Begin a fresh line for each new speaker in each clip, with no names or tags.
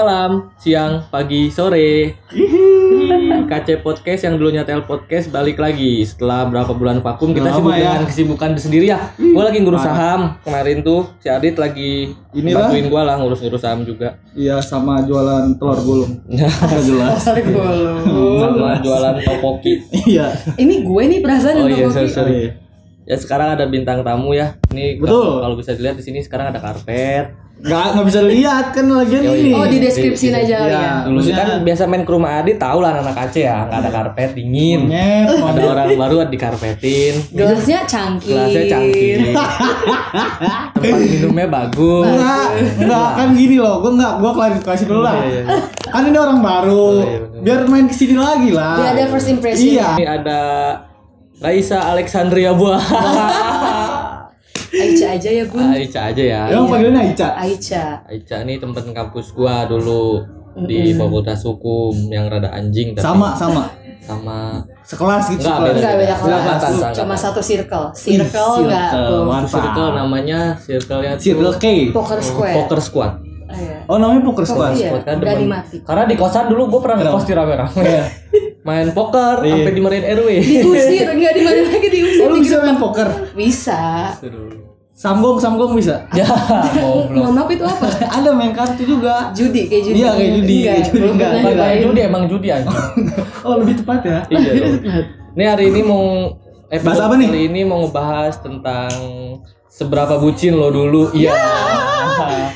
Malam, siang, pagi, sore. KC Podcast yang dulunya Tel Podcast balik lagi setelah berapa bulan vakum kita
Lama
sibuk
ya.
dengan kesibukan sendiri ya. Gue lagi ngurus saham kemarin tuh si Adit lagi
Inilah.
bantuin gue lah ngurus-ngurus saham juga.
Iya sama jualan telur gulung. Nggak jelas. Oh,
Sama jualan topoki.
Iya.
Ini gue nih perasaan
Oh
yang
iya, sorry,
tau kopi.
sorry. Ya sekarang ada bintang tamu ya. Ini
Betul.
kalau- kalau bisa dilihat di sini sekarang ada karpet.
Nggak nggak bisa dilihat kan lagian
Yoi.
ini.
Oh di deskripsi aja
Iya.
kali ya.
Dulu sih
Maksudnya- Iya.
kan biasa main ke rumah Adit tahu lah anak KC ya, nggak ada karpet dingin.
Nyet,
Ada orang baru dikarpetin.
Gelasnya cangkir.
gelasnya
Iya.
canggih tempat minumnya bagus
Enggak, enggak kan gini loh. Gua enggak gua klarifikasi dulu lah.
Iya, iya,
Kan ini orang baru.
iya, bener.
Biar main kesini lagi lah.
Biar ada first impression.
Iya.
ini ada Raisa Alexandria Buah
Aicha aja ya Bun.
Aica aja ya
Emang panggilannya Ica.
Aicha.
Iya.
Aica nih temen kampus gua dulu di fakultas hukum yang rada anjing tapi
Sama sama.
sama
Sekelas gitu.
Enggak,
sekelas.
Enggak beda
Enggak,
kelas.
angkatan, angkatan.
Cuma satu circle. Circle
Circle,
enggak Bung.
mantap.
circle namanya circle-nya tuh
Circle K.
Poker square.
Poker Squad.
Ah, iya.
Oh namanya poker squad.
Iya,
Squad kan
berani
demen-
mati.
Karena di kosan dulu gua pernah ngekos di rame-rame.
Iya.
Main poker
Iya.
sampai di Marine RW.
Diusir enggak di mana lagi diusir.
Oh, lu bisa main poker?
Bisa.
Seru.
Samgong samgong bisa.
Ya,
Oh,
goblok.
Mohon maaf itu apa?
Ada main kartu juga.
Judi kayak judi.
Iya, kayak judi,
Enggak,
kayak judi,
belum
enggak,
pernah
Bukan kayak
nyobain.
judi emang judi aja.
Oh lebih tepat ya.
iya dong. Ini hari ini mau episode
Bahas apa nih?
Kali ini mau ngebahas tentang seberapa bucin lo dulu. Iya.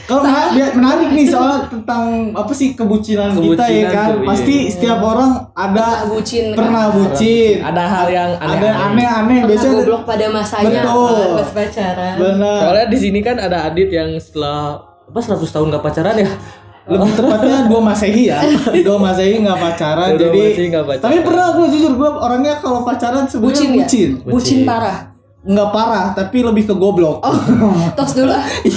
Kalau mena- biar menarik nih soal tentang apa sih kebucinan, kita ya
Kebucinan
kan.
tuh, iya.
Pasti setiap orang ada
Pernah bucin, kan?
pernah bucin.
Ada hal yang
Ada yang
aneh.
aneh-aneh
Pernah
biasanya.
goblok pada masanya
Betul.
apalagi pas pacaran.
Benar.
Soalnya di sini kan ada Adit yang setelah apa 100 tahun gak pacaran ya?
Lebih tepatnya dua masehi ya. Dua masehi nggak pacaran.
Dua
jadi
Masehi nggak pacaran.
tapi pernah gue jujur gue orangnya kalau pacaran sebenarnya
Bucin ya?
bucin.
Bucin parah.
Nggak parah tapi lebih ke goblok.
Oh. Tos dulu. ah.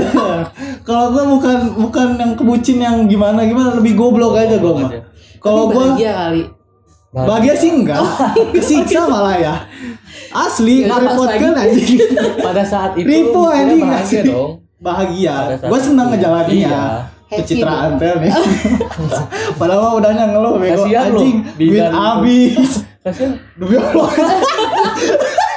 Iya, kalau gue bukan bukan yang kebucin yang gimana gimana lebih goblok aja gue mah.
aja.
Kalau
Tapi
gue
bahagia kali.
Nah,
Bahagia sih enggak,
Oh,
kesiksa malah ya. Asli,
Nggak
merepotkan anjing.
Pada saat Ya, itu
Ripo
lo mikirnya
anjing
bahagia
asli.
dong.
Bahagia,
Pada saat
gue senang
itu. Iya.
ngejalaninnya.
Happy
Pencitraan teh nih. Padahal mah udahnya ngeluh bego
Kasihan lu,
anjing, duit
bidan lu.
habis.
Kasian.
Demi Allah.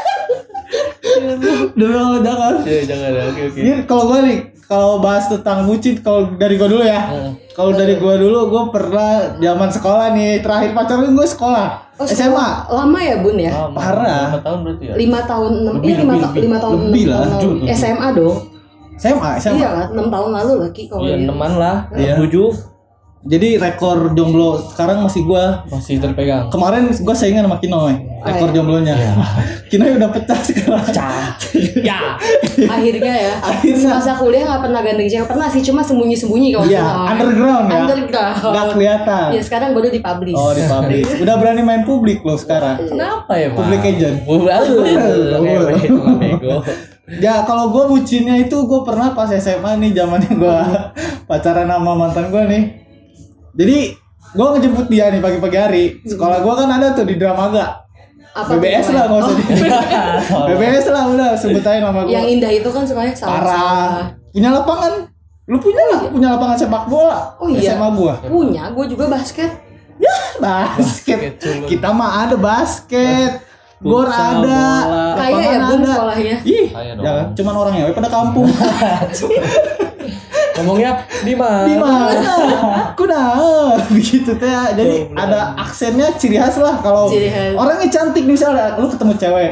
Demi Allah jangan.
Ya jangan ya. Oke oke.
Ini kalau gue nih, kalau bahas tentang bucin, kalau dari gue dulu ya.
Heeh.
Kalau dari gue dulu, gue pernah zaman sekolah nih, terakhir pacaran gue sekolah,
Oh,
SMA.
Lama ya Bun ya?
Lama,
Parah.
Berapa tahun berarti ya?
lima tahun enam
Lebih,
iya lima,
lebih,
ta- lima tahun
Iya. Lebih
enam
lah,
tahun
jujur,
lalu. SMA dong
SMA, SMA.
iya lah enam tahun lalu lagi kalau
Iya,
ya,
teman lah.
Iya.
Tujuh
Jadi rekor jomblo sekarang masih gua
masih terpegang.
kemarin gua saingan sama Kinoy rekor
iya.
jomblonya. Kinoy udah pecah sekarang.
Cah. ya.
akhirnya ya
Akhirnya.
semasa kuliah nggak pernah gandeng cewek pernah sih cuma sembunyi sembunyi kalau
Iya,
nggak salah.
underground ya.
underground
Nggak kelihatan.
ya sekarang baru dipublish
Oh, di publik. Udah berani main publik loh sekarang.
Kenapa ya, Mas?
Public agent.
bego.
Ya, kalau gua bucinnya itu gua pernah pas SMA nih zamannya gua pacaran sama mantan gua nih. Jadi gua ngejemput dia nih pagi-pagi hari. Sekolah gua kan ada tuh di Dramaga.
Apa
BBS
tuh,
lah nggak usah
Oh,
di BBS lah udah sebut aja nama gua.
yang indah itu kan sebenarnya salah salah. iya.
parah punya lapangan lu punya lah punya lapangan sepak bola
Oh iya.
SMA gua
punya gue juga basket
ya basket
Basket dulu.
kita mah ada basket gor
Futsal,
ada
bola.
kaya ya
lapangan
bun
ada
sekolahnya
ih
Kaya dong.
jangan cuman orang ya pada kampung
Ngomongnya di mana?
di mana kunaon begitu teh jadi
Goblok.
ada aksennya ciri khas lah kalau
Ciri khas.
orangnya cantik nih misalnya lu ketemu cewek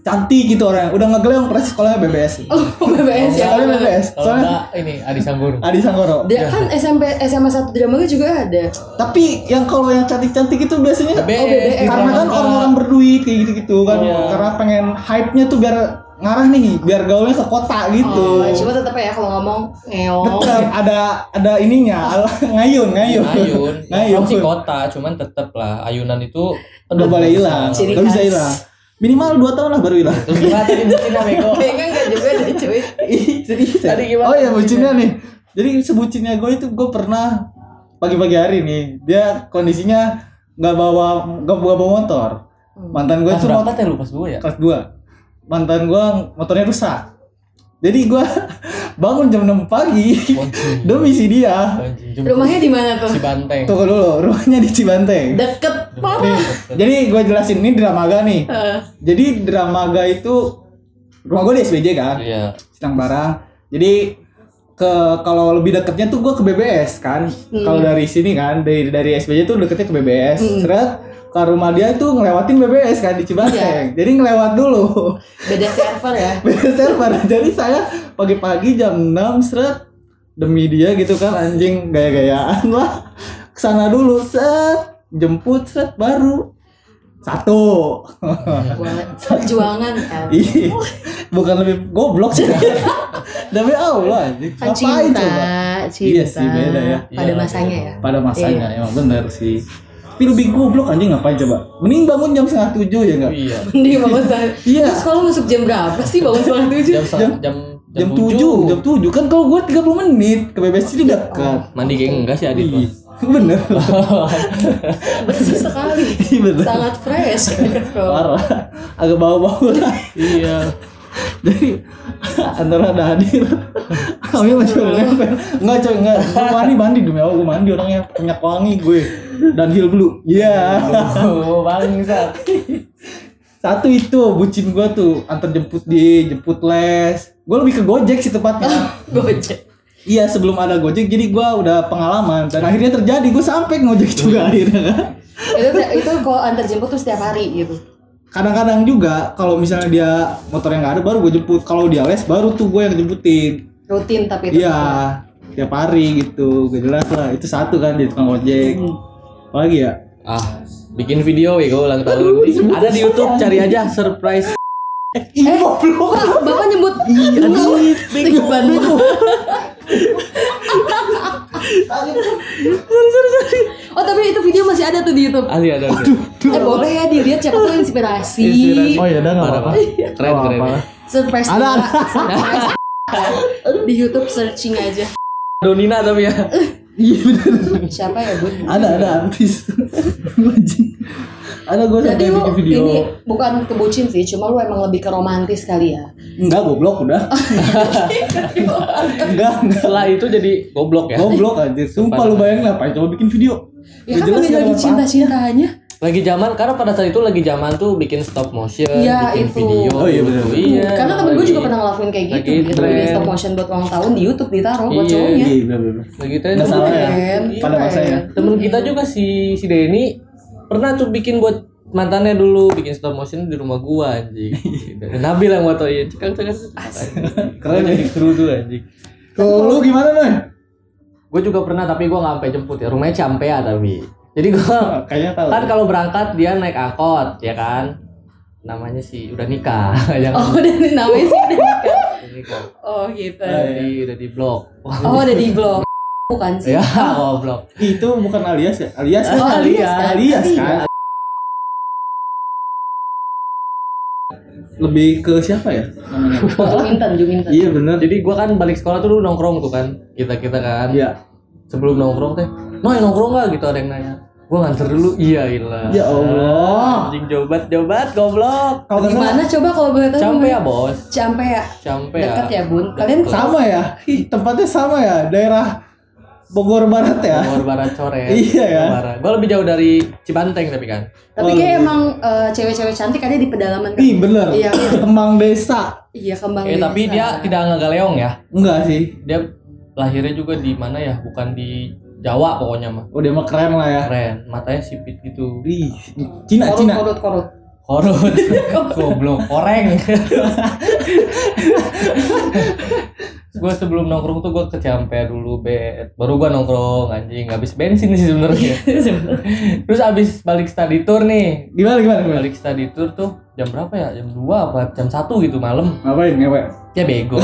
cantik gitu orangnya udah ngegeleong pasti sekolahnya BBS
oh BBS ya
sekolahnya BBS
Kalau
soalnya Oh,
enggak ini Adi Sanggoro.
Adi Sanggoro
Dia kan SMP SMA satu drama gue juga ada
Tapi yang kalau yang cantik-cantik itu biasanya
BBS,
Oh, BBS.
karena kan orang-orang berduit kayak gitu-gitu kan. Karena pengen hype-nya tuh biar ngarah nih, biar gaulnya ke kota gitu.
Oh, cuma tetap ya kalau ngomong ngeong
Tetep ada ada ininya, al- ngayun, ngayun.
Ayun. Ayun
ngayun.
sih kota, cuman tetep lah ayunan itu
Udah boleh hilang,
Ciri
nggak bisa
khas.
hilang. Minimal 2 tahun lah baru hilang.
Terus gimana tadi bucin lah, bego?
Kayaknya enggak juga deh cuy
Ih, serius ya?
Tadi gimana?
Oh iya bucinnya nih. Jadi sebucinnya gue itu gue pernah pagi-pagi hari nih. Dia kondisinya nggak bawa nggak bawa bawa motor. Mantan gue
Kelas
itu
Ah, berapa teh lu pas gua ya?
kelas 2 mantan gua motornya rusak jadi gua bangun jam 6 pagi
Anjing.
demi si dia.
Anjing, jemput
Rumahnya di mana
si
tuh?
banteng.
Tunggu dulu, rumahnya di Cibanteng.
Deket banget.
Jadi gue jelasin ini Dramaga nih.
Eh,
Jadi Dramaga itu rumah gue di SBJ kan,
Iya.
Sinang Barang. Jadi ke kalau lebih deketnya tuh gue ke BBS kan. Kalau dari sini kan dari dari SBJ tuh deketnya ke BBS. Seret ke rumah dia itu ngelewatin BBS kan di Cibanteng. Jadi ngelewat dulu.
Beda server ya.
Beda server. Jadi saya pagi-pagi jam 6 seret demi dia gitu kan anjing gaya-gayaan lah. Kesana dulu set jemput set baru satu.
Wah, Perjuangan El.
Ih, bukan lebih goblok sih. Demi Allah, anjing.
Kan
ngapain
cinta,
coba?
cinta.
Iya sih, beda ya.
Pada
Iya.
masanya ya.
Pada masanya emang bener sih. Tapi lebih goblok anjing ngapain coba? Mending bangun jam setengah tujuh ya enggak?
Iya.
Mending bangun setengah.
Iya.
Terus kalau masuk jam berapa sih bangun setengah tujuh?
Jam jam jam,
Jam tujuh, jam tujuh kan kalau gue 30 menit ke BBC itu dekat.
Mandi kayak enggak sih Adit?
Ih, bener.
Bersih sekali.
Iya, bener.
Sangat fresh.
Iya,
gitu.
Parah. Agak bau-bau lah.
Iya.
Jadi antara ada hadir. Kami masih nempel. Enggak coy, enggak. Gue mandi mandi demi Allah gue mandi orangnya minyak wangi gue dan heel blue. Iya.
Oh, bangsat.
Satu itu bucin gue tuh antar jemput di jemput les. Gue lebih ke Gojek sih tepatnya.
Gojek.
Iya sebelum ada Gojek jadi gue udah pengalaman dan akhirnya terjadi gue sampai ngojek juga akhirnya kan.
Itu itu kalau antar jemput tuh setiap hari gitu.
Kadang-kadang juga kalau misalnya dia motornya nggak ada baru gue jemput. Kalau dia les baru tuh gue yang jemputin.
Rutin tapi itu.
Iya, tiap hari gitu. Gak jelas lah. Itu satu kan di tukang ojek. Apa lagi ya?
Ah, bikin video ya gue ulang tahun.
Ada di YouTube cari aja surprise.
Ih, goblok. Iya,
Wah, Eh, Bapak nyebut
Aduh,
Bego banget. Oh tapi itu video masih ada tuh di YouTube.
Asli ada. Aduh.
Eh boleh ya dilihat siapa tuh inspirasi.
Oh ya udah enggak apa-apa.
Iya. Keren
Oh,
keren.
apa.
Surprise.
Ada,
Nora. Surprise. di YouTube searching aja.
Donina tapi ya.
Iya bener.
Siapa ya bun?
Ada ada artis. Anjing. ada gue
Berarti
sampai
lu
bikin video.
ini bukan kebucin sih, cuma lu emang lebih ke romantis kali ya.
Enggak goblok udah. enggak, enggak.
Setelah itu jadi goblok ya.
Goblok anjir. Sumpah lu bayangin lah, apa coba bikin video. Nggak
Ya kan lagi
nggak
lagi
ada apa-apa.
cinta-cintanya.
Lagi zaman karena pada saat itu lagi zaman tuh bikin stop motion,
Iya,
bikin
itu.
video.
Oh, iya, bener.
Iya.
Karena temen gue
lagi-
juga pernah ngelakuin kayak gitu,
lagi
gitu. Bikin
tren.
stop motion buat ulang tahun di YouTube ditaruh buat
Iya,
cowoknya.
Iya, bener bener.
lagi tren.
Nggak salah ya.
Keren,
Iya.
Pada ya.
keren.
masanya.
Temen kita juga si si Denny pernah tuh bikin buat mantannya dulu bikin stop motion di rumah gua anjing. Dan Nabil yang motoin. Cekak cekak.
Keren ya.
Seru tuh anjing.
Kalau lu gimana, Noy?
Gue juga pernah tapi gua nggak sampai jemput ya. Rumahnya Campea tapi. Jadi gua
Kayaknya tahu.
kan kalau berangkat dia naik angkot ya kan namanya sih udah nikah jangan
Oh dan namanya sih udah nikah.
udah nikah
Oh gitu.
udah di udah di blok
Oh udah di blog. Bukan sih.
ya goblok
Itu bukan alias ya? Alias
Oh, alias kan?
alias kan? Lebih ke siapa ya?
Juminten, Juminten.
iya bener.
jadi gua kan balik sekolah tuh dulu nongkrong tuh kan kita kita kan
Iya.
sebelum nongkrong teh no yang nongkrong nggak gitu ada yang nanya gua nganter dulu iya ilah
Ya Allah.
anjing jobat jobat goblok
Kalau nggak
Di
salah
mana coba kalau boleh tahu?
Campea
namanya?
bos
Campea.
Campea
Dekat ya bun. Kalian
sama ya? Ih, Tempatnya sama ya? Daerah Bogor Barat ya?
Bogor Barat Coret
Iya ya.
Bogor Barat. gua lebih jauh dari Cibanteng tapi kan
Oh,
tapi kayak emang eh, cewek-cewek cantik ada di pedalaman. kan?
Ih bener.
Iya.
Kemang desa.
Iya
Oh,
kembang.
eh tapi
desa.
dia tidak ngegaleong ya
Enggak sih.
dia lahirnya juga di mana ya bukan di Jawa pokoknya mah
Udah mah keren lah ya.
keren matanya sipit gitu
Ih, Cina
korut,
Cina.
korut, korut.
korut goblok koreng gue sebelum nongkrong tuh gue ke Ciampea dulu bet baru gue nongkrong anjing habis bensin sih sebenarnya terus habis balik study tour nih
Gimana gimana gimana?
balik study tour tuh jam berapa ya jam 2 apa jam 1 gitu malam
Ngapain ngapain?
ya bego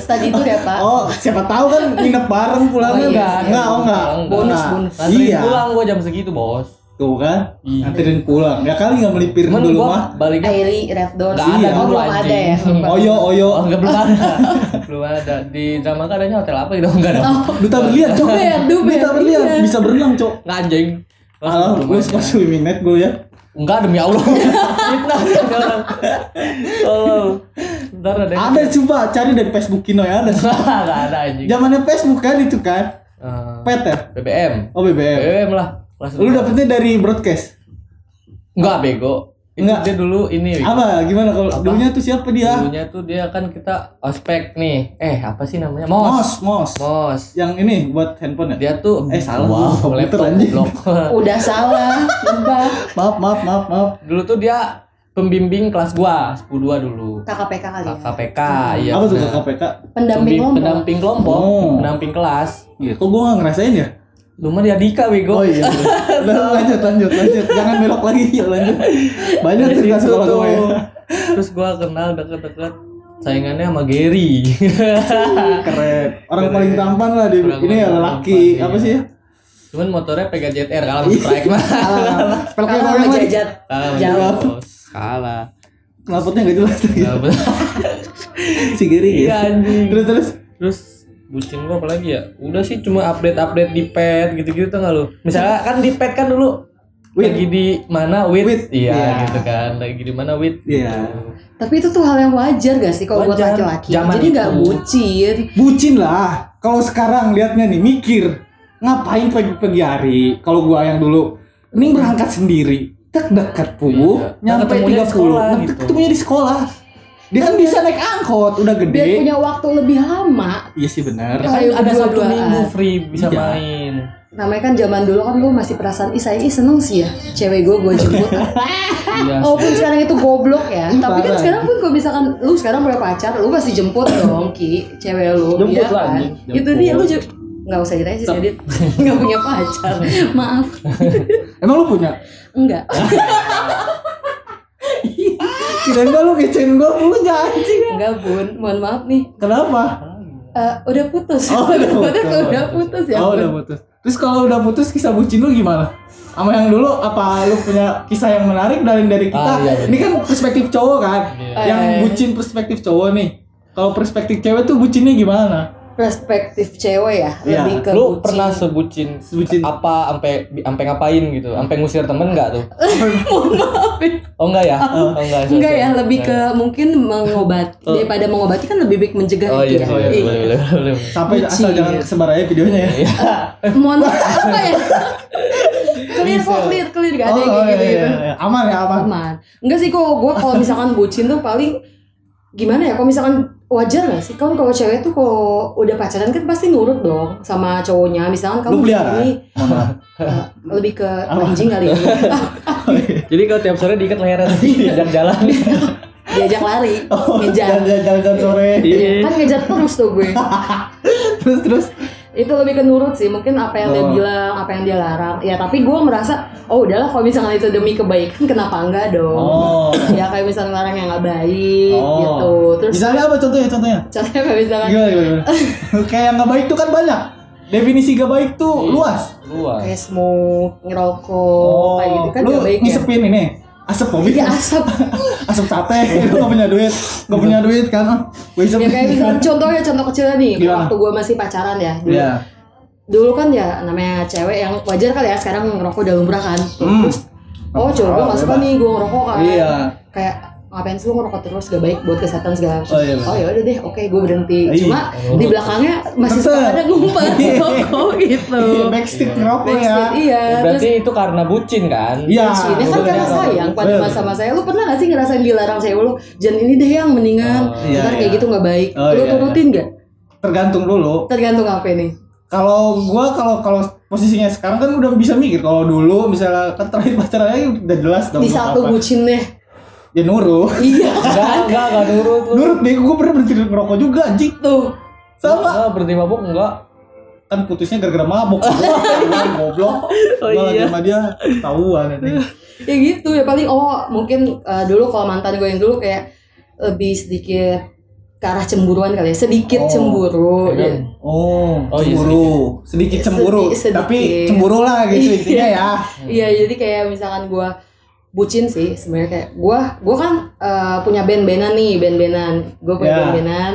Tadi itu ya pak.
Oh, siapa tahu kan nginep bareng pulangnya
Oh, iya
enggak?
sih.
Enggak, oh enggak.
Bonus,
Enggak.
bonus.
Nganterin
Iya.
pulang gue jam segitu bos
Tuh kan,
Iya.
anterin pulang. Ya kali enggak melipir
cuman
dulu
gue
mah.
baliknya
Airi, Red Door.
Nggak ada
Oh
dulu,
belum ada
anjing.
ya. Lupa.
Oyo, oyo.
Oh, enggak belum ada. belum ada. Di drama kan adanya hotel apa gitu enggak ada.
Duta berlian, Cok.
Dubet, dubet,
Duta berlian
iya.
bisa berenang, Cok.
Enggak anjing.
Alah, gue suka swimming net gue ya.
Enggak demi Allah. Fitnah. jangan. Tolong. Ntar ada. yang-
Ada coba cari dari Facebook Kino ya ada.
Enggak ada anjing.
Zamannya Facebook kan itu kan.
Eh,
Peter.
BBM.
Oh BBM.
BBM lah. Kelas
Lu dapetnya dari broadcast.
Enggak bego. Itu
Enggak.
dia dulu ini. Wiko.
Apa gimana kalau
Apa?
dulunya tuh siapa dia?
Dulunya tuh dia kan kita ospek nih. Eh, apa sih namanya? Mos.
Mos, Mos.
Mos.
Yang ini buat handphone ya?
Dia tuh
Eh, salah.
Wah,
Komputer,
laptop
anjing.
blok.
Udah salah, nebak.
Maaf, maaf, maaf, maaf.
dulu tuh dia pembimbing kelas gua, 102 dulu.
KKPK kali ya.
KPK, iya.
Apa tuh
bener.
KKPK?
Pendamping
Pembi-
kelompok.
Pendamping kelompok,
Oh.
pendamping kelas.
Iya, kok gua gak ngerasain ya?
Lu mah dia Dika
Oh
bego.
iya. Udah, lanjut, lanjut, lanjut. Jangan belok lagi, ya lanjut. Banyak
Di
cerita
situ
sekolah
tuh.
iya, gue ya.
Terus gua kenal deket-deket saingannya sama Gary.
Keren. Orang
Keren.
paling tampan lah di
Orang
ini ya
paling
laki.
tampan,
Apa
iya.
sih? ya?
Cuman motornya Pega ZR kalah sama Strike
Iya.
mah.
Alah, pelaknya
Kalau
banyak lagi.
ngejajat
Kalah sama
jauh.
Jawab. Kalah.
Knalpotnya gak jelas lagi.
Nah, bener.
Si Giri
Iya,
ya.
anjing.
Iya. Terus, terus.
Terus bucin gua apa lagi ya? Udah sih cuma update-update di pet gitu-gitu tuh nggak lu? Misalnya kan di pet kan dulu
Wit.
lagi di mana wit,
Wit.
iya
Iya.
gitu kan lagi di mana wit Gitu.
Iya.
Tapi itu tuh hal yang wajar gak sih kalau buat
Wajar.
laki-laki?
Zaman
Jadi nggak
itu.
bucin.
Bucin lah. Kalau sekarang liatnya nih, mikir. Ngapain pagi-pagi hari? Kalau gua yang dulu. Mending berangkat sendiri. Tek dekat pugu.
Iya.
Nyampe
Ketemunya di
30.
sekolah
Nah,
gitu. Iya.
Ketemunya di sekolah. Dia kan bisa naik angkot. Udah
Biar
gede.
punya waktu lebih lama.
Iya sih bener.
Ya kan
Ayo
ada satu
berdua-duaan.
minggu free bisa
Iya.
main
Namanya kan zaman dulu kan gue masih perasaan Ih sayang, ih seneng sih ya Cewek gue gue jemput
iya sih.
Walaupun sekarang itu goblok ya Tapi kan
Parah.
sekarang pun kalau misalkan Lu sekarang punya pacar Lu pasti jemput dong Ki Cewek lu
Jemput
iya
lah,
kan?
anjing,
Itu
jemput.
dia lu jemput Gak usah ditanya sih Adit Gak punya pacar Maaf
Emang lu punya?
Enggak
Kirain gua lu kecein gua punya anjing.
Enggak bun Mohon maaf nih
Kenapa?
Eh, Udah putus
Oh, udah putus.
Udah putus ya
oh,
Bun.
udah putus. Terus kalau udah putus kisah bucin lu gimana? Sama yang dulu apa lu punya kisah yang menarik dari dari kita?
Ah, iya, bener.
Ini kan perspektif cowok kan.
Iya.
Yang
Eh.
bucin perspektif cowok nih. Kalau perspektif cewek tuh bucinnya gimana?
perspektif cewek ya
Iya.
lebih ke
lu
bucin.
pernah sebucin
Sebucin.
apa sampai sampai ngapain gitu sampai ngusir temen nggak tuh oh enggak ya oh enggak sorry,
enggak ya
sorry.
lebih ke mungkin mengobati daripada mengobati kan lebih baik mencegah
oh iya
itu ya
oh iya
Iya.
boleh boleh boleh
Sampai
Bucin.
asal jangan sebar aja videonya ya.
Iya.
Eh, mohon maaf apa ya clear kok clear clear gak ada yang kayak gitu gitu
iya. Aman ya, aman.
aman enggak sih kok gue kalau misalkan bucin tuh paling gimana ya kalau misalkan wajar gak sih kan kalau cewek tuh kalau udah pacaran kan pasti nurut dong sama cowoknya misalkan
Lu
kamu
pelihara?
ini
Mohon maaf.
eh, lebih ke
Apa?
anjing kali ya
jadi kalau tiap sore diikat lehernya diajak jalan
diajak lari
Oh, iya.
ngejar
jalan-jalan sore.
kan ngejar terus tuh gue
Terus terus
itu lebih ke nurut sih mungkin apa yang dia
Oh.
bilang apa yang dia larang ya tapi gue merasa oh udahlah kalau misalnya itu demi kebaikan kenapa enggak dong
Oh.
ya kayak misalnya larang yang nggak baik
Oh. Iya.
gitu terus
Misalnya apa contohnya? Contohnya?
contohnya kayak misalkan
Gimana, gimana, gimana? Kayak yang gak baik tuh kan banyak. Definisi gak baik tuh
Iya.
luas. Oh,
luas
kayak smoke ngerokok kayak gitu kan
lu
nggak baik ya
ngisepin ini. Asap hobi
Iya
kan?
asap
Asap sate. Lu gak punya duit. Gak punya duit kan? Ah, Gue isep.
Iya. ya kayak misalnya contohnya contoh kecilnya nih
Gimana?
waktu gue masih pacaran ya dulu
Iya.
dulu kan ya namanya cewek yang wajar kali ya sekarang ngerokok udah lumrah kan
Hmm.
terus oh cowok gue
Oh,
nggak suka
bebas.
nih gue ngerokok kan
Iya.
kayak ngapain sih lu ngerokok terus gak baik buat kesehatan segala macam
Oh, iya, bener.
oh ya udah deh oke gue berhenti
Iya.
cuma di belakangnya masih
Tetep.
suka ada ngumpet ngerokok gitu
Iya, Backstick ngerokok ya.
Backstreet, iya terus
berarti itu karena bucin kan
Iya.
Ini kan karena sayang pada
Bener.
masa-masa saya lu pernah gak sih ngerasain dilarang saya lu jangan ini deh yang mendingan
Oh,
iya,
ntar kayak
iya.
gitu nggak baik
Oh,
lu
iya,
turutin nggak
Tergantung dulu.
tergantung apa nih
Kalau gua kalau kalau posisinya sekarang kan udah bisa mikir kalau dulu misalnya kan terakhir pacarannya udah jelas dong.
di
lu
satu
apa.
bucin deh
Ya nurut.
iya
enggak enggak enggak nurut lu
Nurut deh, gua pernah berhenti ngerokok juga anjing.
tuh
Sama.
Enggak, berhenti mabuk enggak
kan putusnya gara-gara mabok Wah, goblok
Oh,
Gua lagi
iya.
sama dia ketahuan ini
ya gitu ya paling oh mungkin eh, dulu kalau mantan gue yang dulu kayak lebih sedikit ke arah cemburuan kali ya sedikit
Oh,
cemburu
Kayak kan,
ya.
oh,
Oh, iya,
cemburu sedikit cemburu
Sedikit, sedikit.
tapi cemburu lah gitu intinya ya
Iya jadi kayak misalkan gue bucin sih sebenarnya kayak gue gue kan eh, punya band-bandan nih band-bandan gue punya
Ya.
band-bandan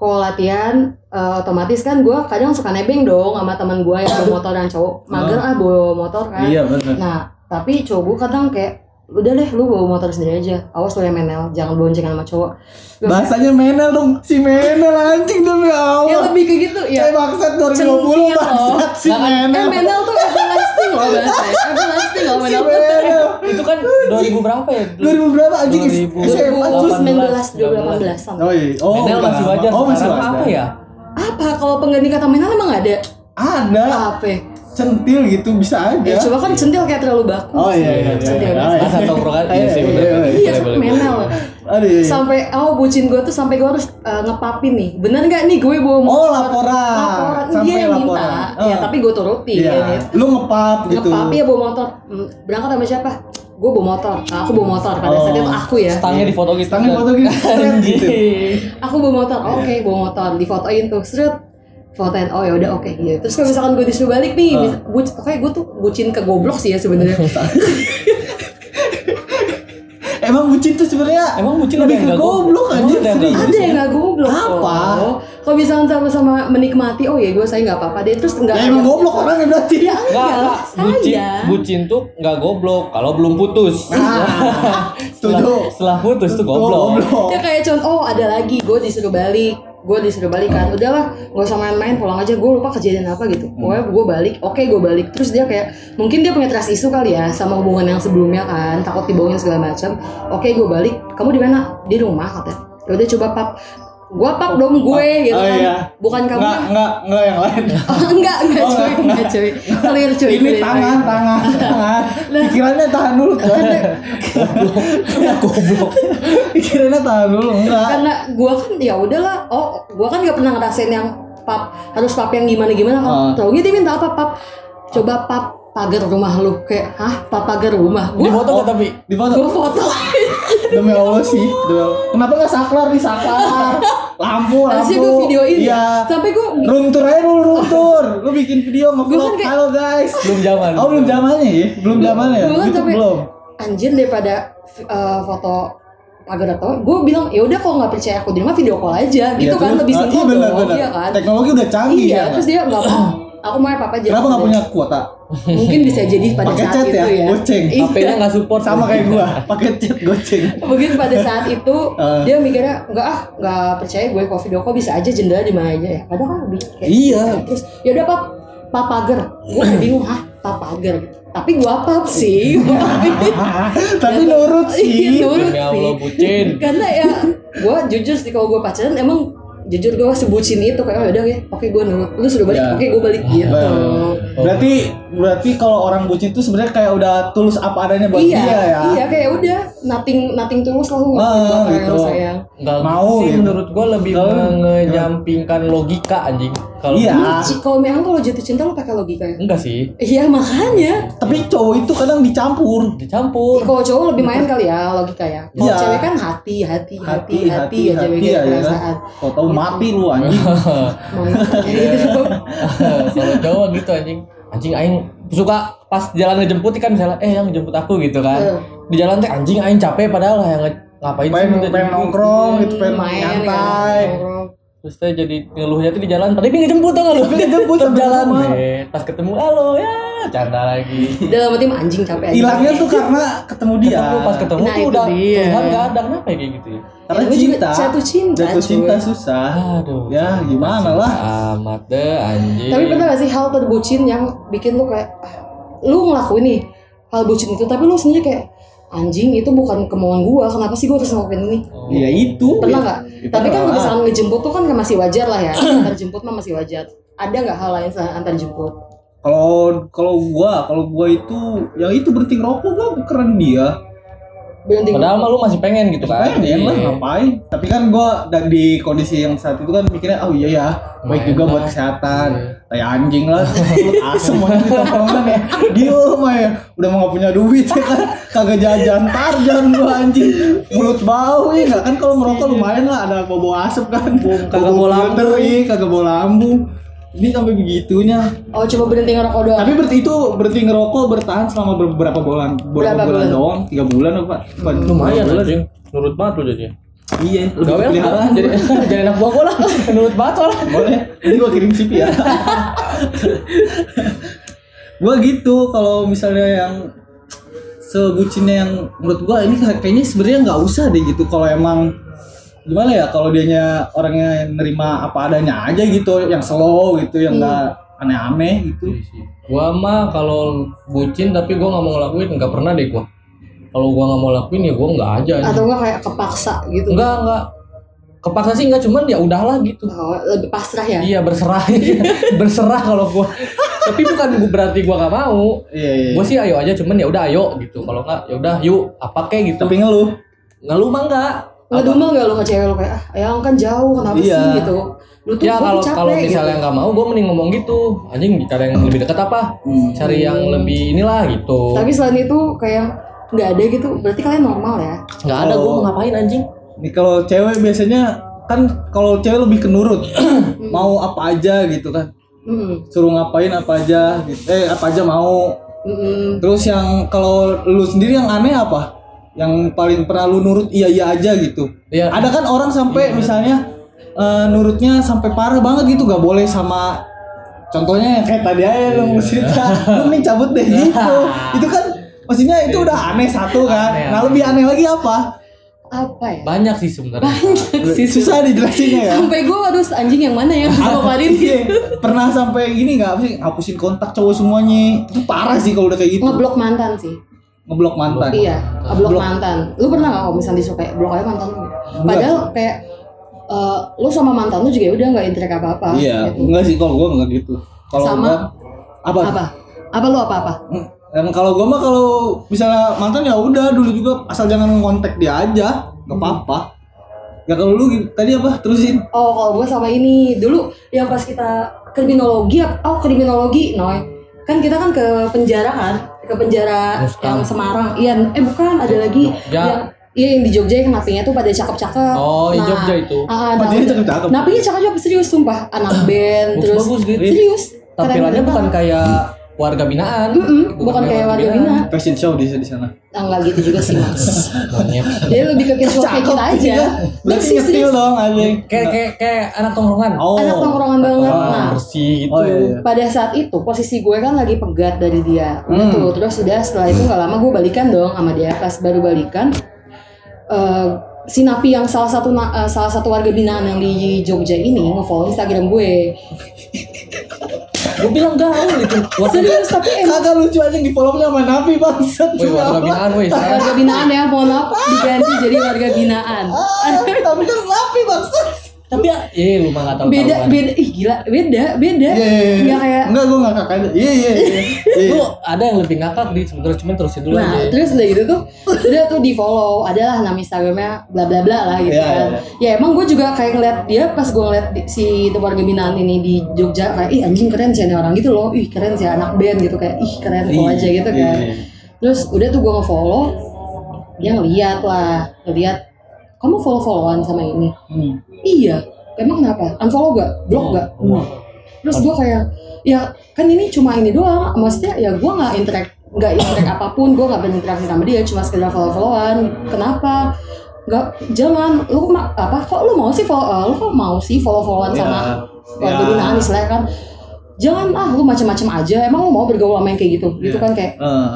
kalau latihan eh, otomatis kan gue kadang suka nebeng dong sama teman gue yang bawa motor dan cowok mager ah bawa motor kan
Oh. iya benar
nah tapi cowok gue kadang kayak udah deh lu bawa motor sendiri aja awas lu yang menel jangan boncengan sama cowok Gua-
Bahasanya menel dong. Si menel anjing demi
ya
Allah.
lebih ke gitu ya
Eh bangsat 2020
Centil loh.
bangsat si
eh
menel.
menel tuh everlasting loh bahasanya everlasting loh
Si
menel tuh
menel.
Itu kan 2000 berapa ya?
2000 berapa anjing?
2000.
SMA terus.
2019 2018 an
Oh iya. Oh,
Menel
udah
masih
lama.
wajar
Oh masih
sekarang
wajar.
apa ya?
apa kalau pengganti kata menel emang ada
Ada
apa ya?
centil gitu bisa aja.
ya coba kan centil kayak terlalu baku
Oh iya iya iya.
centil
iya.
Ah, satu tongkrongan iya sih
Iya,
bener.
iya, iya.
Iya,
Boleh, boleh, boleh.
menel.
Aduh. iya, iya.
Sampai oh bucin gue tuh sampai gue harus eh, ngepapin nih. Bener nggak nih gue bawa motor?
Oh laporan.
Laporan.
Sampai
Dia yang minta.
laporan.
Ya
Ah.
tapi gue turutin. ya kan?
Iya. Lu ngepap gitu.
Ngepapi ya bawa motor. Hmm, Berangkat sama siapa? Gue bawa motor. Ah, Aku bawa motor. Pada
Oh.
saat itu aku ya.
Stangnya di foto gitu.
Tangan
kan?
foto gitu. keren gitu.
Anjing.
Aku bawa motor.
Iya.
Oh, Oke, bawa motor. Difotoin tuh. Seret. Fotoin. Oh ya udah oke. Iya. Terus kalau misalkan gue disuruh balik nih,
Ah.
mis- buc- pokoknya gue tuh bucin ke goblok sih ya sebenarnya.
Emang bucin tuh sebenarnya
Emang bucin ada
lebih
yang
ke
nggak goblok?
goblok anjing
Ada yang nggak
serius.
ada yang nggak goblok
Apa?
Oh. kalau misalkan sama-sama menikmati oh ya gue saya nggak apa-apa deh terus nggak
Ya emang goblok orangnya berarti.
ya
Nggak,
enggak
nggak. bucin,
saya
bucin tuh nggak goblok kalau belum putus.
Nah,
Setelah,
setuju.
setelah putus tuh goblok.
ya kayak contoh oh ada lagi gue disuruh balik gue disuruh balik
Hmm.
kan udahlah gak usah main-main pulang aja gue lupa kejadian apa gitu pokoknya gue balik oke gue balik terus dia kayak mungkin dia punya trust isu kali ya sama hubungan yang sebelumnya kan takut dibohongin segala macam oke gue balik kamu di mana di rumah katanya "Ya udah coba pap gue pap dong gue gitu
Oh,
kan
iya.
bukan kamu
Enggak, enggak, enggak yang lain.
Oh, enggak, enggak
Oh,
cuy, enggak cuy. Clear cuy.
Ini
clear,
tangan,
clear.
tangan, tangan. Pikirannya tahan dulu.
Goblok.
Pikirannya tahan dulu, enggak.
Karena gua kan ya udahlah, oh gua kan nggak pernah ngerasain yang pap harus pap yang gimana gimana kan.
Ah.
Taunya dia minta apa pap? Coba pap pagar rumah lu kayak hah pap pagar rumah
Di
gua
foto nggak tapi?
Di foto.
gua foto
Demi Allah sih. Demi Allah. Kenapa enggak saklar nih saklar? Lampu, lampu.
harusnya gua videoin
Iya.
ya sampai gua
Room tour aja dulu room tour. Lu bikin video
Gua kan
nge-vlog.
kayak-
Halo guys.
Belum zaman.
Oh belum zamannya ya? Belum zamannya ya?
Belum,
Gitu
tapi-
belum.
anjir daripada eh, foto pagar atau gua bilang ya udah kalau nggak percaya aku di rumah video call aja gitu
Iya,
kan
terus-
lebih
ah,
simpel
iya, bener,
dong
bener.
iya kan
Teknologi udah canggih
iya
ya.
terus dia nggak mau aku mau papa aja
Kenapa nggak
Udah.
punya kuota?
mungkin bisa jadi pada
Pakai
saat
chat
itu
ya,
ya,
goceng.
Iya.
HP-nya nggak support.
Sama kayak gua, pakai chat goceng.
mungkin pada saat itu
Eh.
dia mikirnya enggak ah nggak percaya gue kalau video call bisa aja jendela di mana aja ya kadang kan lebih kayak
Iya.
gitu. terus ya udah pap papager gue kayak bingung ah papager tapi gue pap sih
Ah, tapi nurut
Iya,
sih.
nurut
Demi Allah,
sih.
bucin.
karena ya gue jujur sih kalau gue pacaran emang jujur gue sebucin itu kayak oh udah ya oke gue nurut lu sudah balik
Iya.
oke gue balik gitu
Bener. Berarti berarti kalau orang bucin itu sebenarnya kayak udah tulus apa adanya buat
iya,
dia ya.
iya kayak udah nothing nothing tulus lah lu
Ah,
ngelakuin apa yang
gitu.
lu sayang.
Nggak
Mau
mau sih
gitu.
menurut gua lebih
Kalau-
mengejampingkan logika anjing. Kalau
Iya.
Ini ci- kalau memang kalau jatuh cinta lu pakai logika ya.
enggak sih
Iya makanya.
Tapi cowok itu kadang dicampur.
dicampur.
Kalau cowok lebih main kali ya logika ya. Kalau
Iya.
cewek kan hati hati hati
Hati,
hati,
hati,
ya cewek
hati
gitu,
ya, ya.
perasaan.
Kau
Iya.
tahu mati lu anjing.
Mau gitu.
kalau Jawa gitu anjing anjing aing suka pas jalan ngejemput kan misalnya eh yang ngejemput aku gitu
Iya.
kan
Eh,
di jalan teh anjing aing capek padahal lah yang nge- ngapain sih
Pengen
gitu.
pengen nongkrong gitu, pengen
main ya,
nyantai.
nongkrong.
terus teh jadi ngeluhnya tuh di jalan tapi dia ngejemput tau gak lu
Tapi ngejemput
Tetep
sampai
jalan
rumah.
deh pas ketemu halo ya canda lagi
Dalam hati mah anjing capek. anjing.
Hilangnya tuh kan karena ketemu dia.
ketemu pas ketemu
Nah,
tuh
itu
udah
dia.
Tuhan gak ada kenapa ya kayak gitu ya
Karena
Ya, tapi juga
cinta.
jatuh cinta,
Jatuh
cuy.
cinta susah.
aduh
Ya gimana lah.
amat deh anjing
Iya.
Tapi pernah gak sih hal terbucin yang bikin lu kayak ah, lu ngelakuin nih hal bucin itu tapi lu sebenarnya kayak anjing itu bukan kemauan gua kenapa sih gua harus ngelakuin ini
Oh.
Ya itu. Iya,
pernah nggak
Itu
tapi kan
Ah.
doang.
kalau misalkan ngejemput tuh kan masih wajar lah ya antar jemput mah masih wajar ada nggak hal lain selain antar jemput
Kalau kalau gua, kalau gua itu yang itu berhenti rokok gua keren dia.
berhenti
padahal mah lu masih pengen gitu kan
Pengen lah
Iya.
ngapain Tapi kan gue dan di kondisi yang saat itu kan mikirnya Oh iya ya baik
Main
juga
lah.
buat kesehatan
Iya.
Kayak anjing lah Ah, Asem aja di tongkrongan ya Diem aja Udah mau gak punya duit ya kan Kagak jajan tarjan gue anjing Mulut bau ya nggak? Kan kalau merokok lumayan lah Ada bobo asem kan
Kagak Iya. bau lambung.
Iya kagak bau lambung ini sampai begitunya.
oh cuma berhenti ngerokok doang
Tapi berarti itu berarti ngerokok bertahan selama beberapa bulan, beberapa
Berapa
bulan,
bulan?
doang, tiga bulan apa? Bukan,
Hmm, lumayan
berapa bulan?
Iya, anjing nurut banget lu ya. jadi
Iya, lebih
Gawel
peliharaan
jadi jadi anak buah gua lah nurut banget lah
boleh ini gua kirim CV ya gua gitu kalau misalnya yang sebucinnya yang menurut gua ini kayaknya sebenarnya nggak usah deh gitu kalau emang gimana ya kalau dianya orangnya yang nerima apa adanya aja gitu yang slow gitu
Hmm.
yang nggak aneh-aneh gitu
Iya Gua mah kalau bucin tapi gua nggak mau ngelakuin nggak pernah deh gua. Kalau gua nggak mau lakuin ya gua nggak aja.
atau enggak kayak kepaksa gitu
Enggak enggak. Kepaksa sih enggak cuman ya udahlah gitu.
Oh, lebih pasrah ya
Iya berserah, Iya, berserah kalau gua. Tapi bukan gua- berarti gua nggak mau.
iya iya
Gua sih ayo aja cuman ya udah ayo gitu. Kalau nggak ya udah yuk apa kek gitu.
tapi ngeluh
Nggak lu mah nggak.
nggak dumel nggak lu sama cewek lu kayak ah yang kan jauh kenapa
Iya.
sih gitu lu tuh
Ya
gua
kalau
capek
kalau misalnya
gitu.
nggak mau, gua mending ngomong gitu. Anjing cari yang lebih dekat apa?
Hmm.
Cari yang lebih inilah gitu.
tapi selain itu kayak nggak ada gitu berarti kalian normal ya
Nggak ada gua mau ngapain anjing.
Nih kalau cewek biasanya kan kalau cewek lebih kenurut mau apa aja gitu kan
Mm-mm.
suruh ngapain apa aja gitu. eh apa aja mau
Mm-mm.
terus yang kalau lu sendiri yang aneh apa yang paling pernah lu nurut iya iya aja gitu
Iya.
ada kan orang sampai misalnya eh, nurutnya sampai parah banget gitu gak boleh sama contohnya yang kayak tadi
Iya.
aja lu cerita lu nih cabut deh gitu itu kan maksudnya itu udah aneh satu kan
Iya. Aneh,
nah lebih aneh lagi apa
apa ya
Banyak sih sebenarnya.
susah dijelasinnya ya
sampai gue harus anjing yang mana ya sama Farid
Iya, pernah sampai gini nggak apa sih hapusin kontak cowok semuanya itu parah sih kalau udah kayak gitu
ngeblok mantan sih
ngeblok mantan
iya ngeblok
Blok.
mantan lu pernah nggak kalau misalnya disuka blok aja mantan lu padahal kayak eh, lu sama mantan lu juga ya udah nggak gitu. intrik apa apa
iya enggak sih kalau gua nggak gitu kalau
Sama?
gua apa,
apa apa lu apa apa
Hmm, Dan kalau gua mah kalau misalnya mantan ya udah dulu juga asal jangan kontak dia aja nggak
Hmm.
apa-apa ya kalau lu gi- tadi apa terusin
Oh, kalau gue sama ini dulu yang pas kita kriminologi, ap- oh kriminologi, noy. Kan kita kan ke penjara kan, ke penjara
Rustam.
yang Semarang. Iya, eh bukan ada lagi
Jogja.
yang iya yang di Jogja yang napinya tuh pada cakep-cakep.
Oh, di
Nah,
Jogja itu.
Ah,
Oh,
nah,
jadi cakep-cakep.
Napinya cakep-cakep serius sumpah, anak band terus
Bagus-bagus gitu.
serius. Keren
Tampilannya
banget.
bukan kayak warga binaan.
Mm-mm, bukan kayak warga bina.
fashion show di di sana
Ah, Enggak gitu juga sih, Mas.
Banyak.
Dia lebih ke casual kayak kita aja.
berarti
Bersih,
nyetil
serius.
dong anjing
Kayak kayak kayak anak tongkrongan.
oh
Anak tongkrongan banget.
Orang
Nah,
bersih gitu.
oh iya, iya.
pada saat itu posisi gue kan lagi pegat dari dia udah
Hmm.
tuh terus udah setelah itu nggak lama gue balikan dong sama dia pas baru balikan eh, si napi yang salah satu na- eh, salah satu warga binaan yang di Jogja ini ngefollow Instagram gue
Gue bilang gaul gitu. Warga
serius tapi emang
Kagak lucu aja di follow sama Napi bangsat.
Woi, warga binaan woi. Saya
warga binaan ya mohon maaf diganti jadi warga binaan
Ah, Tapi kan Napi bangsat.
tapi ya, eh lu mah enggak tahu
beda beda ih gila beda beda
Iya iya iya.
nggak kayak
Enggak gua enggak kakak aja. Iya iya iya. Iya.
Lu ada yang lebih ngakak di sebenarnya cuman terusin dulu
Nah,
aja.
terus udah gitu tuh, udah tuh di follow, adalah nama Instagramnya bla bla bla lah gitu
Iya,
kan. Ya emang gue juga kayak ngeliat dia pas gue ngeliat di- si itu warga binaan ini di Jogja kayak ih anjing keren sih ini orang gitu loh, ih keren sih anak band gitu kayak ih keren follow aja gitu
Iya,
kan.
iya.
Terus udah tuh gue ngefollow, dia ngeliat lah, ngeliat kamu follow followan sama ini.
Hmm.
Iya, emang kenapa? Unfollow gak? Block gak?
Wah.
Terus gue kayak, ya kan ini cuma ini doang, maksudnya ya gue nggak interact, nggak interact apapun, gue nggak berinteraksi sama dia, cuma sekedar follow followan. Kenapa? Gak, jangan, lu ma- apa? Kok lu mau sih follow, eh, lu kok mau sih follow followan
Iya.
sama warga
Iya.
binaan istilahnya kan? Jangan ah lu macam-macam aja, emang lu mau bergaul sama yang kayak gitu, gitu kan kayak
Eh,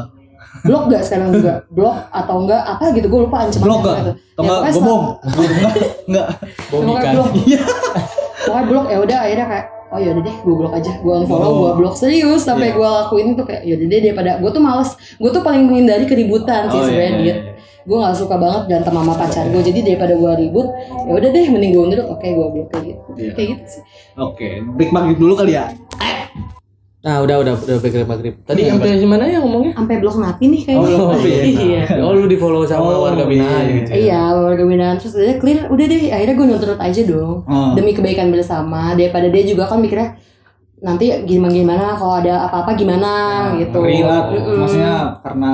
blok gak sekarang juga, blok atau enggak apa gitu gue lupa ancaman Ya,
Blok gak? Atau enggak gobong? Enggak, Enggak.
Bobi
Pokoknya
kan.
blok.
Iya.
Pokoknya blok ya udah akhirnya kayak oh yaudah deh gue blok aja gue unfollow
Oh.
gue blok serius sampai
Iya.
gue lakuin tuh kayak yaudah deh daripada gue tuh males gue tuh paling menghindari keributan sih
Oh, iya,
sebenarnya
iya,
dia gue nggak suka banget berantem sama pacar gue jadi daripada gue ribut ya udah deh mending gue undur oke gue blok kayak gitu
Iya.
kayak gitu sih
Oke, break maghrib dulu kali ya.
Nah,
Ah,
udah udah udah maghrib maghrib.
Tadi sampai gimana ya ngomongnya?
sampai blok napi nih kayaknya
Oh, iya.
iya
Oh lu di follow sama
Oh,
warga binaan
iya.
gitu.
Iya, warga binaan terus udah clear, udah deh akhirnya gue nuntut aja dong
Hmm.
demi kebaikan bersama daripada dia juga kan mikirnya nanti gimana gimana kalau ada apa-apa gimana gitu.
Nah, Relate,
Mm-mm.
maksudnya karena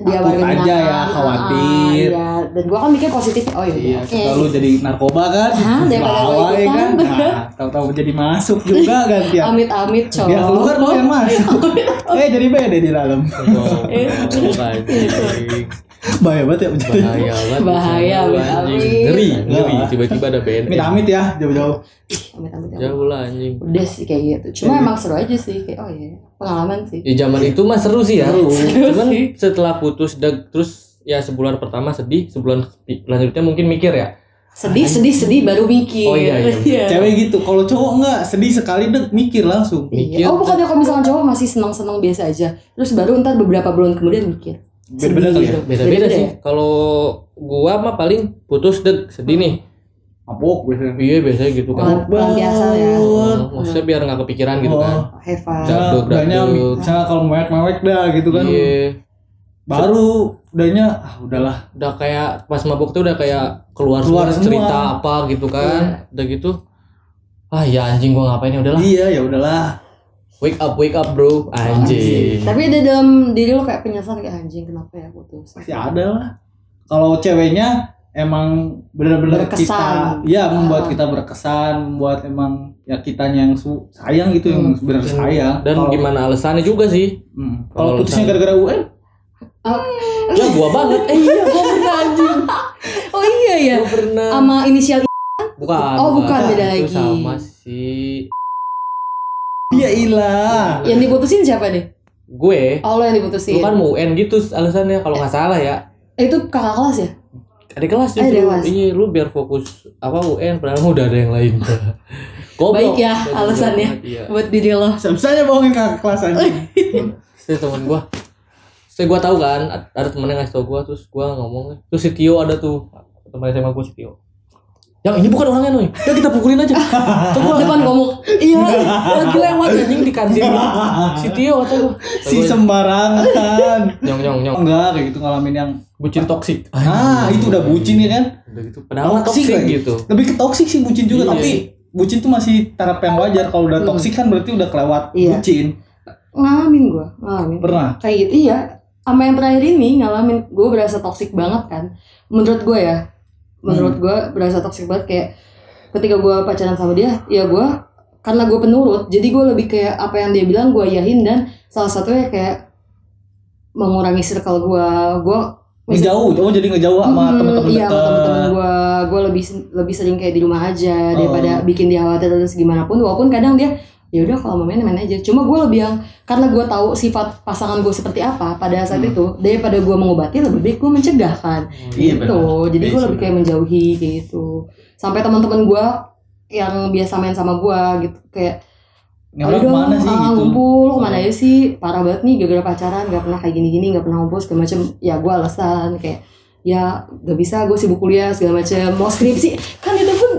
dia
takut
warga
aja
binaan.
ya, khawatir.
Ah, iya. dan gua kan mikir positif oh iya,
Iya,
oke.
kita lu jadi narkoba kan,
Hah, daripada gitu gua
bawah ya kan,
ikutan.
nah, tahu-tahu jadi masuk juga kan, gantian.
amit amit cowok
Ya keluar lu
Iya.
yang masuk. eh jadi beda di dalam.
Tuh, bukan.
bahaya banget ya bercanda
bahaya banget
Bahaya,
Lu
amit-amit.
anjing ngeri ngeri
Enggak.
tiba-tiba ada BNN
amit amit ya jauh-jauh
Amit, amit, amit.
jauh lah anjing
Udah sih kayak gitu. Cuma emang seru aja sih kayak oh iya pengalaman sih.
di zaman itu mah seru sih ya cuman
sih.
setelah putus deg- terus ya sebulan pertama sedih sebulan selanjutnya mungkin mikir ya
Sedih sedih sedih baru mikir.
Oh, iya, iya.
cewek gitu kalau cowok enggak sedih sekali deh mikir langsung
mikir
Iya. Oh bukannya kalau misalnya cowok masih senang-senang biasa aja, terus baru ntar beberapa bulan kemudian mikir.
Beda-beda
Sedih
kali
gitu.
beda-beda sih kalau gua mah paling putus deg sedih nih
mabok biasanya
iya biasanya gitu kan
Orang- orang biasa ya.
Banget.
maksudnya biar nggak kepikiran gitu kan
Oh,
Have fun.
Jangan.
misalnya
Dagduk,
udahnya
dagduk.
misalnya kalau mewek-mewek dah gitu kan
iya
baru udahnya ah udahlah
udah kayak pas mabuk tuh udah kayak keluar,
Keluar
semua
semua.
cerita apa gitu kan udah gitu ah ya anjing gua ngapain ya udahlah
iya ya udahlah
wake up wake up bro anjing
Tapi ada dalam diri lo kayak penyesalan kayak anjing kenapa ya putus.
pasti ada lah kalau ceweknya emang benar-benar
Berkesan.
kita ya membuat
Ah.
kita berkesan membuat emang ya kitanya yang su- sayang gitu yang benar sayang
Hmm. dan
Kalau-
gimana alasannya juga sih
hmm.
kalau
kalau putusnya gara-gara UN
ya gua banget eh iya gua pernah anjing
Oh iya ya.
gua pernah
Sama inisial I.
bukan
Oh, bukan, beda
Itu
lagi.
sama si
iya ilah
yang diputusin siapa deh?
gue
Oh lo yang diputusin.
lu kan mau UN gitu alasannya kalau nggak salah ya
Eh, itu kakak kelas ya?
ada kelas
Ada
itu
kelas.
iya lu biar fokus apa UN padahal udah ada yang lain
Baik
Goblok.
ya
Goblok
alasannya
banget, iya.
buat diri lo.
Bisa-bisanya bohongin kakak kelas
Eh.
anjing.
Terus temen gua Terus gua tahu kan ad- Ada temennya ngasih tau gua Terus gua ngomong Terus si Tio ada tuh Temen SMA gua si Tio Ya ini bukan orangnya Noy Ya kita pukulin aja Terus gua
Depan ngomong.
Iya Lagi lewat anjing di kantin Si Tio kata gua
si sembarangan.
Nyong nyong nyong
Enggak kayak gitu ngalamin yang
Bucin toksik
ah itu udah bucin ya kan?
Udah gitu Padahal mah toksik
lagi.
gitu
Lebih ke toksik sih bucin
Iya.
juga
Hmm.
tapi bucin tuh masih taraf yang wajar kalau udah toksik kan berarti udah kelewat
Iya.
bucin.
Ngalamin gua, ngalamin.
Pernah?
Kayak gitu iya. Sama yang terakhir ini ngalamin gue berasa toksik banget kan. Menurut gue ya. Menurut gue berasa toksik banget kayak ketika gua pacaran sama dia, ya gua karena gue penurut, jadi gue lebih kayak apa yang dia bilang gue yahin dan salah satunya kayak mengurangi circle gua Gua
Ngejauh, oh jadi ngejauh sama
Hmm,
temen-temen
iya, sama temen-temen
dekat.
gue gue lebih lebih sering kayak di rumah aja daripada
Oh.
bikin dia khawatir terus gimana pun walaupun kadang dia ya udah kalau mau main main aja cuma gue lebih yang karena gue tahu sifat pasangan gue seperti apa pada saat
Hmm.
itu daripada gue mengobati lebih baik gue mencegah kan
Iya,
gitu jadi
Iya,
gue
sih,
lebih kayak menjauhi kayak gitu sampai teman-teman gue yang biasa main sama gue gitu kayak
Ini orang
Aduh,
kemana sih
ah,
gitu?
Ngumpul, lo kemana aja sih? Parah banget nih gara-gara pacaran, gak pernah kayak gini-gini, gak pernah ngumpul segala macem. Ya gue alasan kayak ya gak bisa gue sibuk kuliah segala macem mau skripsi kan itu pun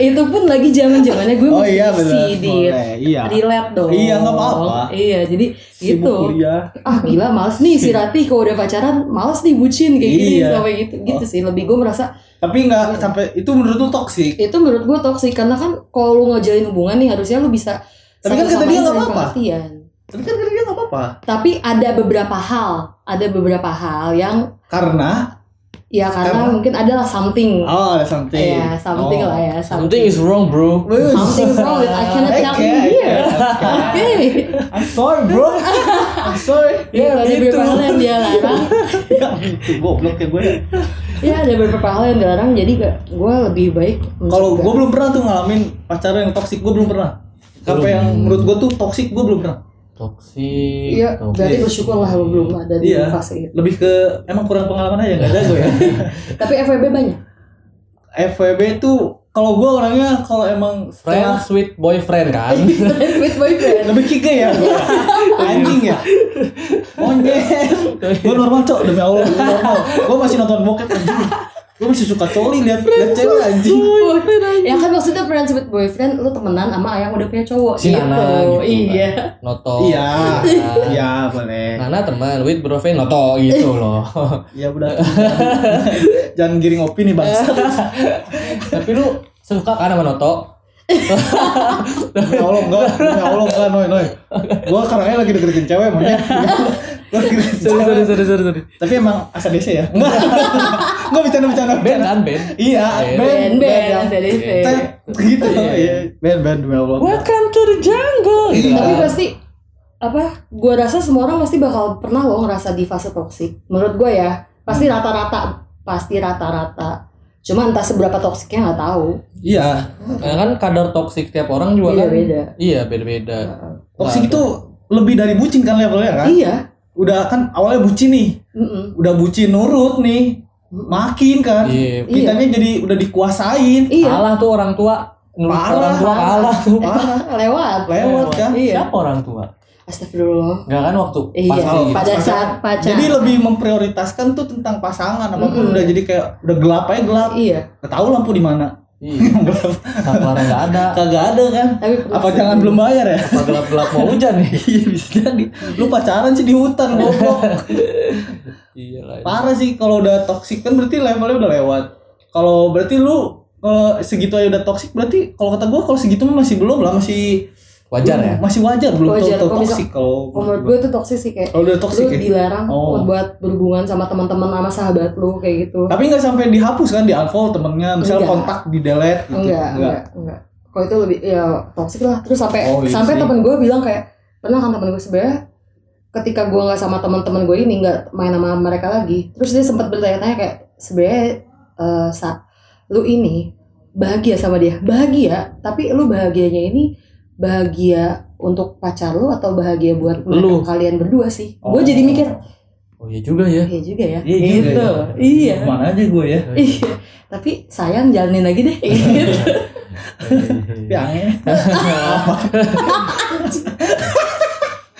itu pun lagi zaman zamannya gue
Oh iya benar.
skripsi di
Boleh, Iya.
relate dong
Iya, nggak apa-apa.
iya jadi
Sibuk
gitu
kuliah.
ah gila males nih si Rati kalau udah pacaran males nih bucin kayak gini
Iya.
sampai gitu gitu sih lebih gue merasa
Tapi enggak sampai itu menurut lu toksik.
itu menurut gue toksik karena kan kalau lu ngejalin hubungan nih harusnya lu bisa
Tapi kan kata
sama-samain
dia nggak
saling
apa-apa.
pengertian.
Tapi kan dia enggak apa-apa.
tapi ada beberapa hal ada beberapa hal yang
Karena
ya karena
Karena?
mungkin adalah something
oh ada something.
ya something
Oh.
lah ya
Something is wrong bro
Wih,
something wrong with I cannot
Okay,
help you
okay.
here okay
I'm sorry bro I'm sorry
ya ada
gitu.
beberapa hal yang dia larang
Ya gitu goblok ya gue
ya ada beberapa hal yang dilarang jadi gue lebih baik
Kalau
mencegah.
gue belum pernah tuh ngalamin pacaran yang toksik gue belum pernah Apa
Belum.
yang menurut gue tuh toksik gue belum pernah
Toksik
Iya,
toksik.
berarti bersyukur lah lu belum ada di
Iya.
fase itu.
Lebih ke emang kurang pengalaman aja gak jago ya
Tapi FWB banyak.
FWB tuh kalau gue orangnya kalau emang setelah
Friends with boyfriend kan
With boyfriend.
lebih kiga ya gua. anjing ya monyet gue normal cok demi allah gue normal gue masih nonton bokep anjing gue masih suka coli lihat lihat cewek anjing
ya kan maksudnya friends with boyfriend lu temenan sama yang udah punya cowok
Si Nana gitu kan.
Iya.
Noto
Iya,
Nana.
iya boleh.
Nana teman with boyfriend Noto gitu loh
Ya udah. Jangan giring opini bangsa.
Tapi lu suka kan sama Noto?
Demi Allah enggak, demi Allah enggak noy noy. Gua karangnya lagi deketin cewek monyet. Gua deketin
Sorry, sorry,
cewek.
sorry, sorry, sorry.
Tapi emang asal desa ya? Enggak. Enggak bercanda bercanda.
Ben
bercanda.
kan Ben?
Iya,
Ben,
ben,
Ben,
ben,
Ben, ada di
Ben.
Tet, gitu
Iya,
ya. Ben, ben, demi Allah.
Welcome to the jungle. Gitu
Iya.
Tapi
kan.
pasti apa? Gua rasa semua orang pasti bakal pernah loh ngerasa di fase toksik. Menurut gua ya,
Hmm.
pasti rata-rata pasti rata-rata cuma entah seberapa toksiknya nggak tahu
Iya.
Karena kan kadar toksik tiap orang juga kan.
beda-beda
Iya, beda-beda. Nah,
Toksik itu lebih dari bucin kan levelnya kan?
iya
Udah kan awalnya bucin nih.
Mm-mm.
Udah bucin nurut nih. Makin kan.
Iya.
Kitanya jadi udah dikuasain.
iya
Kalah tuh orang tua. Menurut
Parah,
orang tua
parah.
kalah tuh.
Parah.
lewat Iya.
Lewat kan.
Siapa orang tua?
astagfirullah
Enggak kan waktu
iya
Pasangan.
pada saat pacar
gitu. Jadi lebih memprioritaskan tuh tentang pasangan apapun
Mm-mm.
udah jadi kayak udah gelap aja gelap.
iya
Gak tahu lampu di mana.
Iya,
Gelap.
satu orang enggak ada.
Kagak ada kan?
tapi
Apa jangan belum bayar ya?
Apa gelap-gelap mau hujan nih?
Iya bisa jadi. Lu pacaran sih di hutan goblok.
Iya lah.
Parah sih kalau udah toksik kan berarti levelnya udah lewat. Kalau berarti lu kalau segitu aja udah toksik berarti kalau kata gua kalau segitu mah masih belum lah masih
Wajar ya?
masih wajar belum
Wajar.
tau
Kalau bisa-
toksik kalau
Kalau menurut gue itu toksik sih kayak
kalau udah toksik
lu
ya.
dilarang
Oh.
buat berhubungan sama teman-teman sama sahabat lu kayak gitu
Tapi nggak sampai dihapus kan di unfollow temennya, misal
Enggak.
kontak di delete gitu.
enggak enggak enggak kalau itu lebih ya toksik lah terus sampai
Oh, iya
sampai
sih.
temen gue bilang kayak pernah kan temen gue sebenarnya ketika gue nggak sama teman-teman gue ini nggak main sama mereka lagi terus dia sempat bertanya-tanya kayak sebenarnya eh, sa lu ini bahagia sama dia bahagia tapi lu bahagianya ini bahagia untuk pacar lu atau bahagia buat
Lu.
lu kalian berdua sih
Oh.
gue jadi mikir
Oh iya juga ya.
iya juga ya
Iya juga
gitu
ya.
iya
Mana aja gue ya.
iya tapi sayang jalanin lagi deh gitu
Piangnya.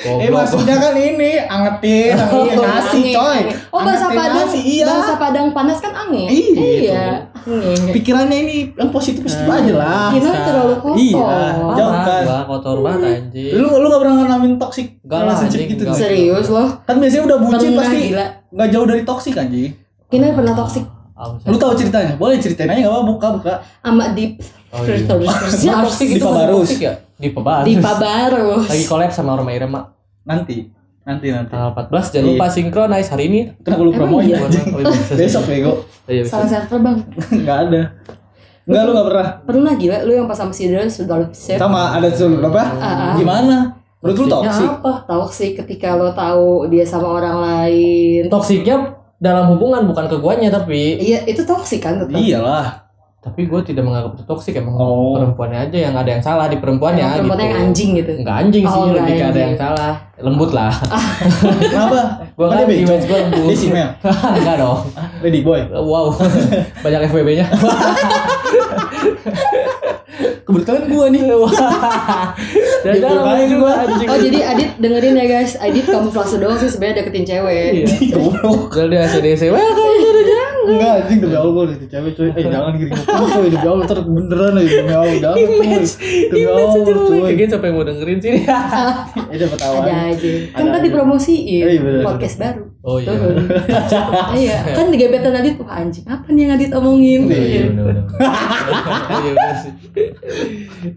Eh
Goblok.
maksudnya kan ini angetin, angetin Iya, nasi
angin,
coy.
angin. Oh bahasa
Angetin
Padang,
nasi, iya.
bahasa Padang panas kan angin.
Iya.
iya. Angin.
Pikirannya ini yang positif positif aja lah.
Kita
Bisa.
terlalu kotor.
Iya.
Parah,
Jauh kan.
gua kotor banget anjing.
Lu lu gak pernah ngalamin toxic
Enggak lah,
relationship
Iya. anjing,
gitu.
enggak.
Serius loh,
Kan biasanya udah bucin
pernah
pasti
gila.
nggak jauh dari toxic anjing.
Kinar pernah toksik
Ah, oh,
Lu tahu ceritanya? Boleh ceritain aja gak apa buka buka.
sama Deep
Oh, iya.
Restoration.
Toxic itu
itu
kan
baru
toxic
ya? Di Pebarus.
Dipa baru.
Lagi collab sama Roma Irama
Nanti. Nanti nanti.
tanggal 14 jangan lupa sinkronize hari ini.
Kenapa lu
Iya. Emang
promoin
iya?
anjing? Besok bego.
Iya, bisa.
Salah server bang.
Enggak ada. Enggak lu gak pernah.
Pernah gila lu yang pas sama si Dren sudah lu
Sama ada dulu apa?
Ah, ah.
Gimana? Menurut lu toxic?
apa?
Toksik ketika lo tahu dia sama orang lain.
Toksiknya dalam hubungan bukan ke guanya tapi
Iya itu toksik kan tetap.
Iya. Iyalah.
tapi gue tidak menganggap itu toksik emang
Oh.
perempuannya aja yang ada yang salah di perempuannya
Yang
gitu.
perempuannya yang anjing gitu.
Enggak anjing sih,
Oh,
lebih ke
enggak
ada
anjing. Ah.
yang salah. Lembut lah.
Kenapa?
Gua
Kan
kan
dia bejo.
image gua lembut.
Dia simel.
Enggak dong.
Lady boy.
Eh, Wow. Banyak FBB-nya.
Kebetulan gua nih.
Dan
Dia
dalam
bukain
juga
gua.
anjing.
Oh jadi Adit dengerin ya guys, Adit kamuflase doang sih sebenarnya deketin cewek.
Iya.
Goblok.
Lalu dia CDC. Welcome.
Ya Enggak anjing demi Allah gue udah cewek cuy Eh jangan gini gini cuy demi Allah ntar beneran aja demi Allah jangan
Image.
cuy Demi
Image
Allah
jelek.
cuy Iya,
Kayaknya sampai mau dengerin sini.
Eh dapat awan
Ada aja. Kan
Ada
tadi
aja.
promosiin
Iya, bener.
podcast baru.
Oh iya.
Turun. Iya, kan di gebetan Adit wah anjing. Apa nih yang Adit omongin?
Iya, iya,
Iya.
bener-bener. Iya, bener sih.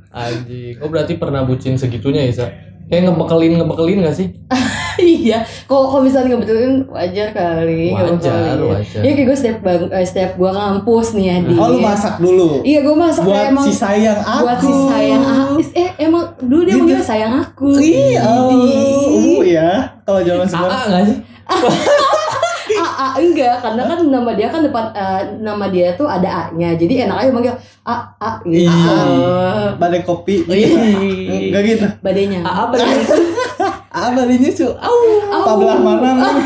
Anjing. Oh berarti pernah bucin segitunya ya, Sa? Kayak ngebekelin ngebekelin gak sih?
Iya. Kok kok bisa ngebetulin wajar kali.
Wajar,
ngebetelin.
wajar.
Iya kayak gue setiap bang, eh, setiap gue ngampus nih Adit.
Oh lu masak dulu
Iya gue masak kayak
Buat
emang
si sayang aku
buat si sayang aku. Eh emang dulu dia
Gitu.
manggil sayang aku.
Iya
Ih.
Oh ya Kalau zaman sekarang
Aa gak sih?
Iya.
A, A enggak karena kan nama dia kan depan eh, nama dia tuh ada A-nya. Jadi enak aja manggil A A
Iya.
gitu.
Eh.
A.
Badai kopi
Iya.
Enggak gitu
Badainya.
Aa Ah, apa sih?
Apa ini su Au Tablah
Ah.
mana lu?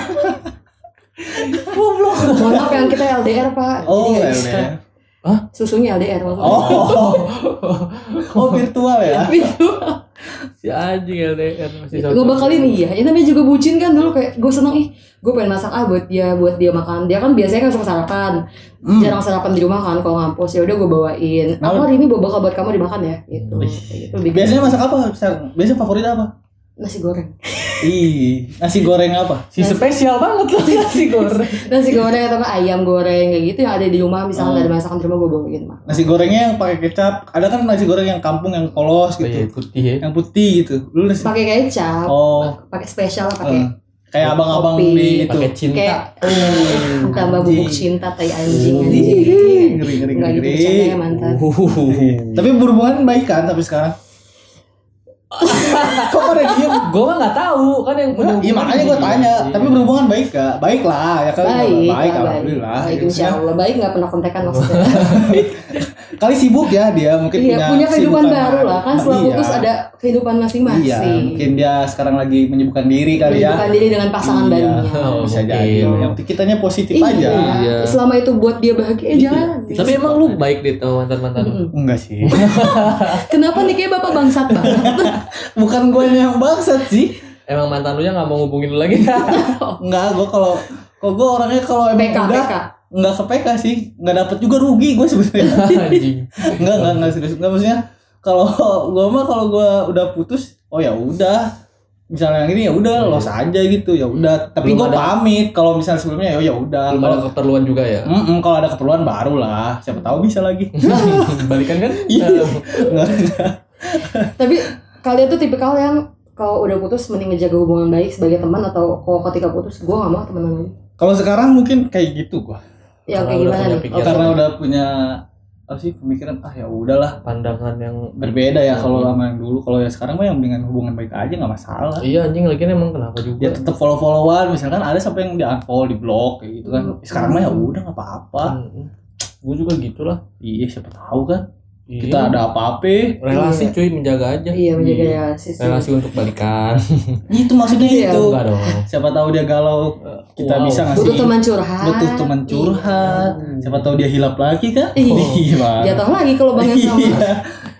Mohon maaf yang kita LDR, Pak.
Oh
Jadi nggak
lele
bisa. Susunya LDR waktu itu.
Oh Oh virtual ya
Si anjing LDR masih sama.
Gue bakalin iya, ya namanya juga bucin kan dulu kayak gue seneng ih gue pengen masak ah buat dia buat dia makan dia kan biasanya kan suka sarapan
Hmm.
jarang sarapan di rumah kan kalau ngampus ya udah gue bawain aku hari ini bawa bakal buat kamu dimakan ya gitu, Kayak gitu. Bikin
Biasanya masak apa? Sar? Biasanya favorit apa?
nasi goreng
Ih, nasi goreng apa?
Si spesial banget loh si goreng.
nasi goreng atau nggak ayam goreng kayak gitu yang ada di rumah misalnya
Hmm.
ada masakan di rumah gue bawain mah
nasi gorengnya yang pakai kecap ada kan nasi goreng yang kampung yang kolos
Oh iya
gitu
putih ya.
yang putih gitu lu nasi
pakai kecap
oh
pakai spesial
eh,
pakai
kayak abang-abang
Kopi.
di itu
Pakai cinta.
kayak eh,
Hmm.
tambah bubuk cinta tai anjing anjing
Ih, ngeri ngeri ngeri
nggak gitu
ngeri
bercanda ya mantan
Uhuhuhu.
tapi berhubungan baik kan tapi sekarang Kok pada diem?
Gue mah nggak tahu kan yang punya.
Iya
hubungan
makanya gue
dia
tanya,
sih.
tapi berhubungan baik gak? Baik lah ya kan?
Baik,
baik
lah,
alhamdulillah. Iya,
Baik,
Ya,
insya Allah. Baik nggak pernah kontekan maksudnya.
Kali sibuk ya dia mungkin
iya, punya kehidupan
kesibukan
baru lah. Kan setelah
Iya.
putus ada kehidupan masing-masing.
Iya, mungkin dia sekarang lagi menyibukkan diri kali ya.
Menyibukkan diri dengan pasangan
Iya,
barunya.
Bisa
Mungkin.
jadi. Yang penting kitanya positif aja. Iya.
Iya. Selama itu buat dia bahagia, eh, jangan.
Iya. Tapi emang lu baik deh sama mantan mantan.
Mm-mm.
Enggak sih.
Kenapa nih kayak bapak bangsat banget?
Bukan gue yang bangsat sih.
Emang mantan lu yang nggak mau ngubungin lu lagi.
Enggak, gue kalau kok gue orangnya kalau emang
PK,
udah
PK.
enggak ke PK sih, enggak dapet juga rugi gue sebenarnya.
Anjing.
enggak, enggak, enggak serius. Enggak maksudnya kalau gue mah kalau gue udah putus, oh ya udah. Misalnya yang ini ya udah los aja gitu, ya udah. Tapi gue
Iya. Belum ada-
pamit kalau misalnya sebelumnya ya ya udah.
Belum
Kalau-
ada keperluan juga ya.
Mm-mm, kalau ada keperluan baru lah, siapa tahu bisa lagi.
Balikan kan?
Iya.
Tapi kalian tuh tipikal yang kalau udah putus mending ngejaga hubungan baik sebagai teman atau kalau ketika putus gue gak mau temenan lagi.
Kalau sekarang mungkin kayak gitu gua.
Ya
Karena udah
kayak gimana
punya
nih?
pikiran.
Oh,
Iya.
karena udah punya apa sih pemikiran ah ya udahlah
Pandangan yang
berbeda ya kalau sama yang dulu kalau yang sekarang mah yang dengan hubungan baik aja nggak masalah
Iya anjing lagi emang kenapa
ya
juga?
tetap follow followan misalkan ada sampai yang di unfollow di blog kayak gitu kan sekarang mah ya udah nggak apa apa
Gue juga gitulah.
iya siapa tahu kan
Iya.
kita ada apa apa
relasi cuy menjaga aja.
Iya menjaga relasi sih.
Relasi untuk balikan.
itu maksudnya
Iya.
itu
Enggak dong.
siapa tahu dia galau kita
Oh. Wow.
bisa ngasih
Butuh teman curhat.
butuh teman curhat siapa tahu dia hilap lagi kan
Iya.
Gimana?
Jatuh lagi kalau bang yang sama.
Iya.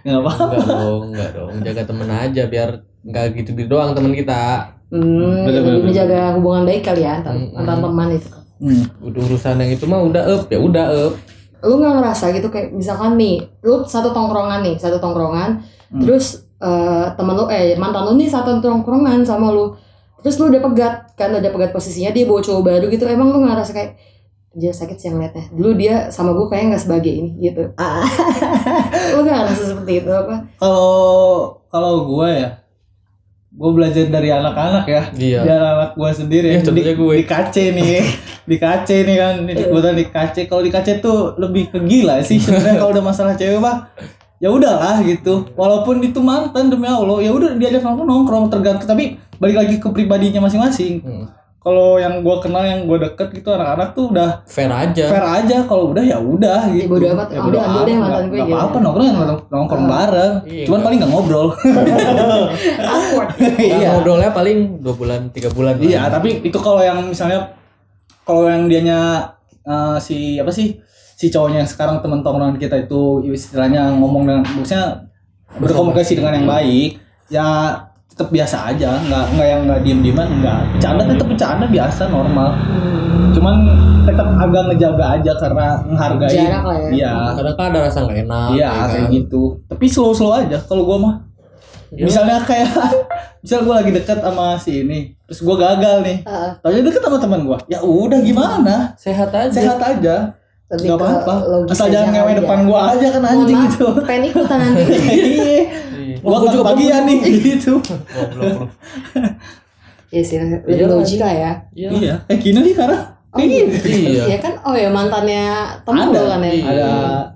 nggak apa
Enggak dong, enggak dong. Jaga temen aja biar enggak gitu gitu doang temen kita.
Hmm,
Betul, betul,
lebih menjaga hubungan baik kali ya antar,
Hmm.
antar teman itu.
hmm.
Udah urusan yang itu mah udah up ya udah up.
Lu nggak ngerasa gitu kayak misalkan nih, lu satu tongkrongan nih, satu tongkrongan,
Hmm.
terus eh, teman lu eh mantan lu nih satu tongkrongan sama lu, terus lu udah pegat kan udah pegat posisinya dia bawa cowok baru gitu, emang lu nggak ngerasa kayak dia sakit sih yang liatnya. Dulu dia sama gue kayak nggak sebagai ini gitu.
Ah.
lu nggak ngerasa seperti itu apa?
kalau kalau gue ya gue belajar dari anak-anak ya
Iya.
dari anak gue sendiri
Iya, contohnya gue.
di kace nih di kace nih kan ini kebetulan di kace kalau di kace tuh lebih ke gila sih sebenarnya kalau udah masalah cewek mah ya udahlah gitu walaupun itu mantan demi allah ya udah diajak nongkrong nongkrong tergantung tapi balik lagi ke pribadinya masing-masing
Hmm.
kalau yang gue kenal yang gue deket gitu anak-anak tuh udah
Fair aja.
fair aja kalau udah ya udah gitu.
bodo amat,
Ya
ambil- ambil deh mantan
nggak-
gue
nggak
gitu.
apa-apa nongkrong ya nongkrong, nongkrong bareng.
Iya,
Cuman
nggak-
paling nggak ngobrol.
Awkward.
Nah,
Iya.
ngobrolnya paling 2 bulan 3 bulan. kan. lah.
Iya, tapi itu kalau yang misalnya kalau yang dianya eh, si apa sih si cowoknya yang sekarang teman tongkrongan kita itu istilahnya ngomong dengan maksudnya berkomunikasi dengan yang baik ya tetap biasa aja nggak nggak yang nggak diem dieman nggak bercanda
Iya.
tetap bercanda biasa normal
Hmm.
cuman tetap agak ngejaga aja karena menghargai
Jarak lah ya.
iya
Kadang kan ada rasa nggak enak.
Iya
ya kan?
kayak gitu. Tapi slow-slow aja kalau gua mah.
Iya.
Misalnya kayak misal gua lagi dekat sama si ini, terus gua gagal nih.
Heeh.
Tapi deket sama teman gua. Ya udah gimana?
Sehat aja.
Sehat aja.
Lebih
Enggak
ke
apa-apa.
logis
Asal
aja ya.
jangan ngewe
aja.
depan gua aja kan
Mohon
anjing
maaf,
gitu.
pengen ikutan nanti.
Iya. Gua
Gua
juga
juga
bagian nih gitu.
Goblok lu.
Iya sih, lebih
Iya.
logik lah ya.
Iya.
Iya. Kayak gini nih gitu. sekarang.
Oh, iya.
Iya.
Ya kan, oh ya mantannya temen
Ada.
lo kan ya.
Iya.
Ada.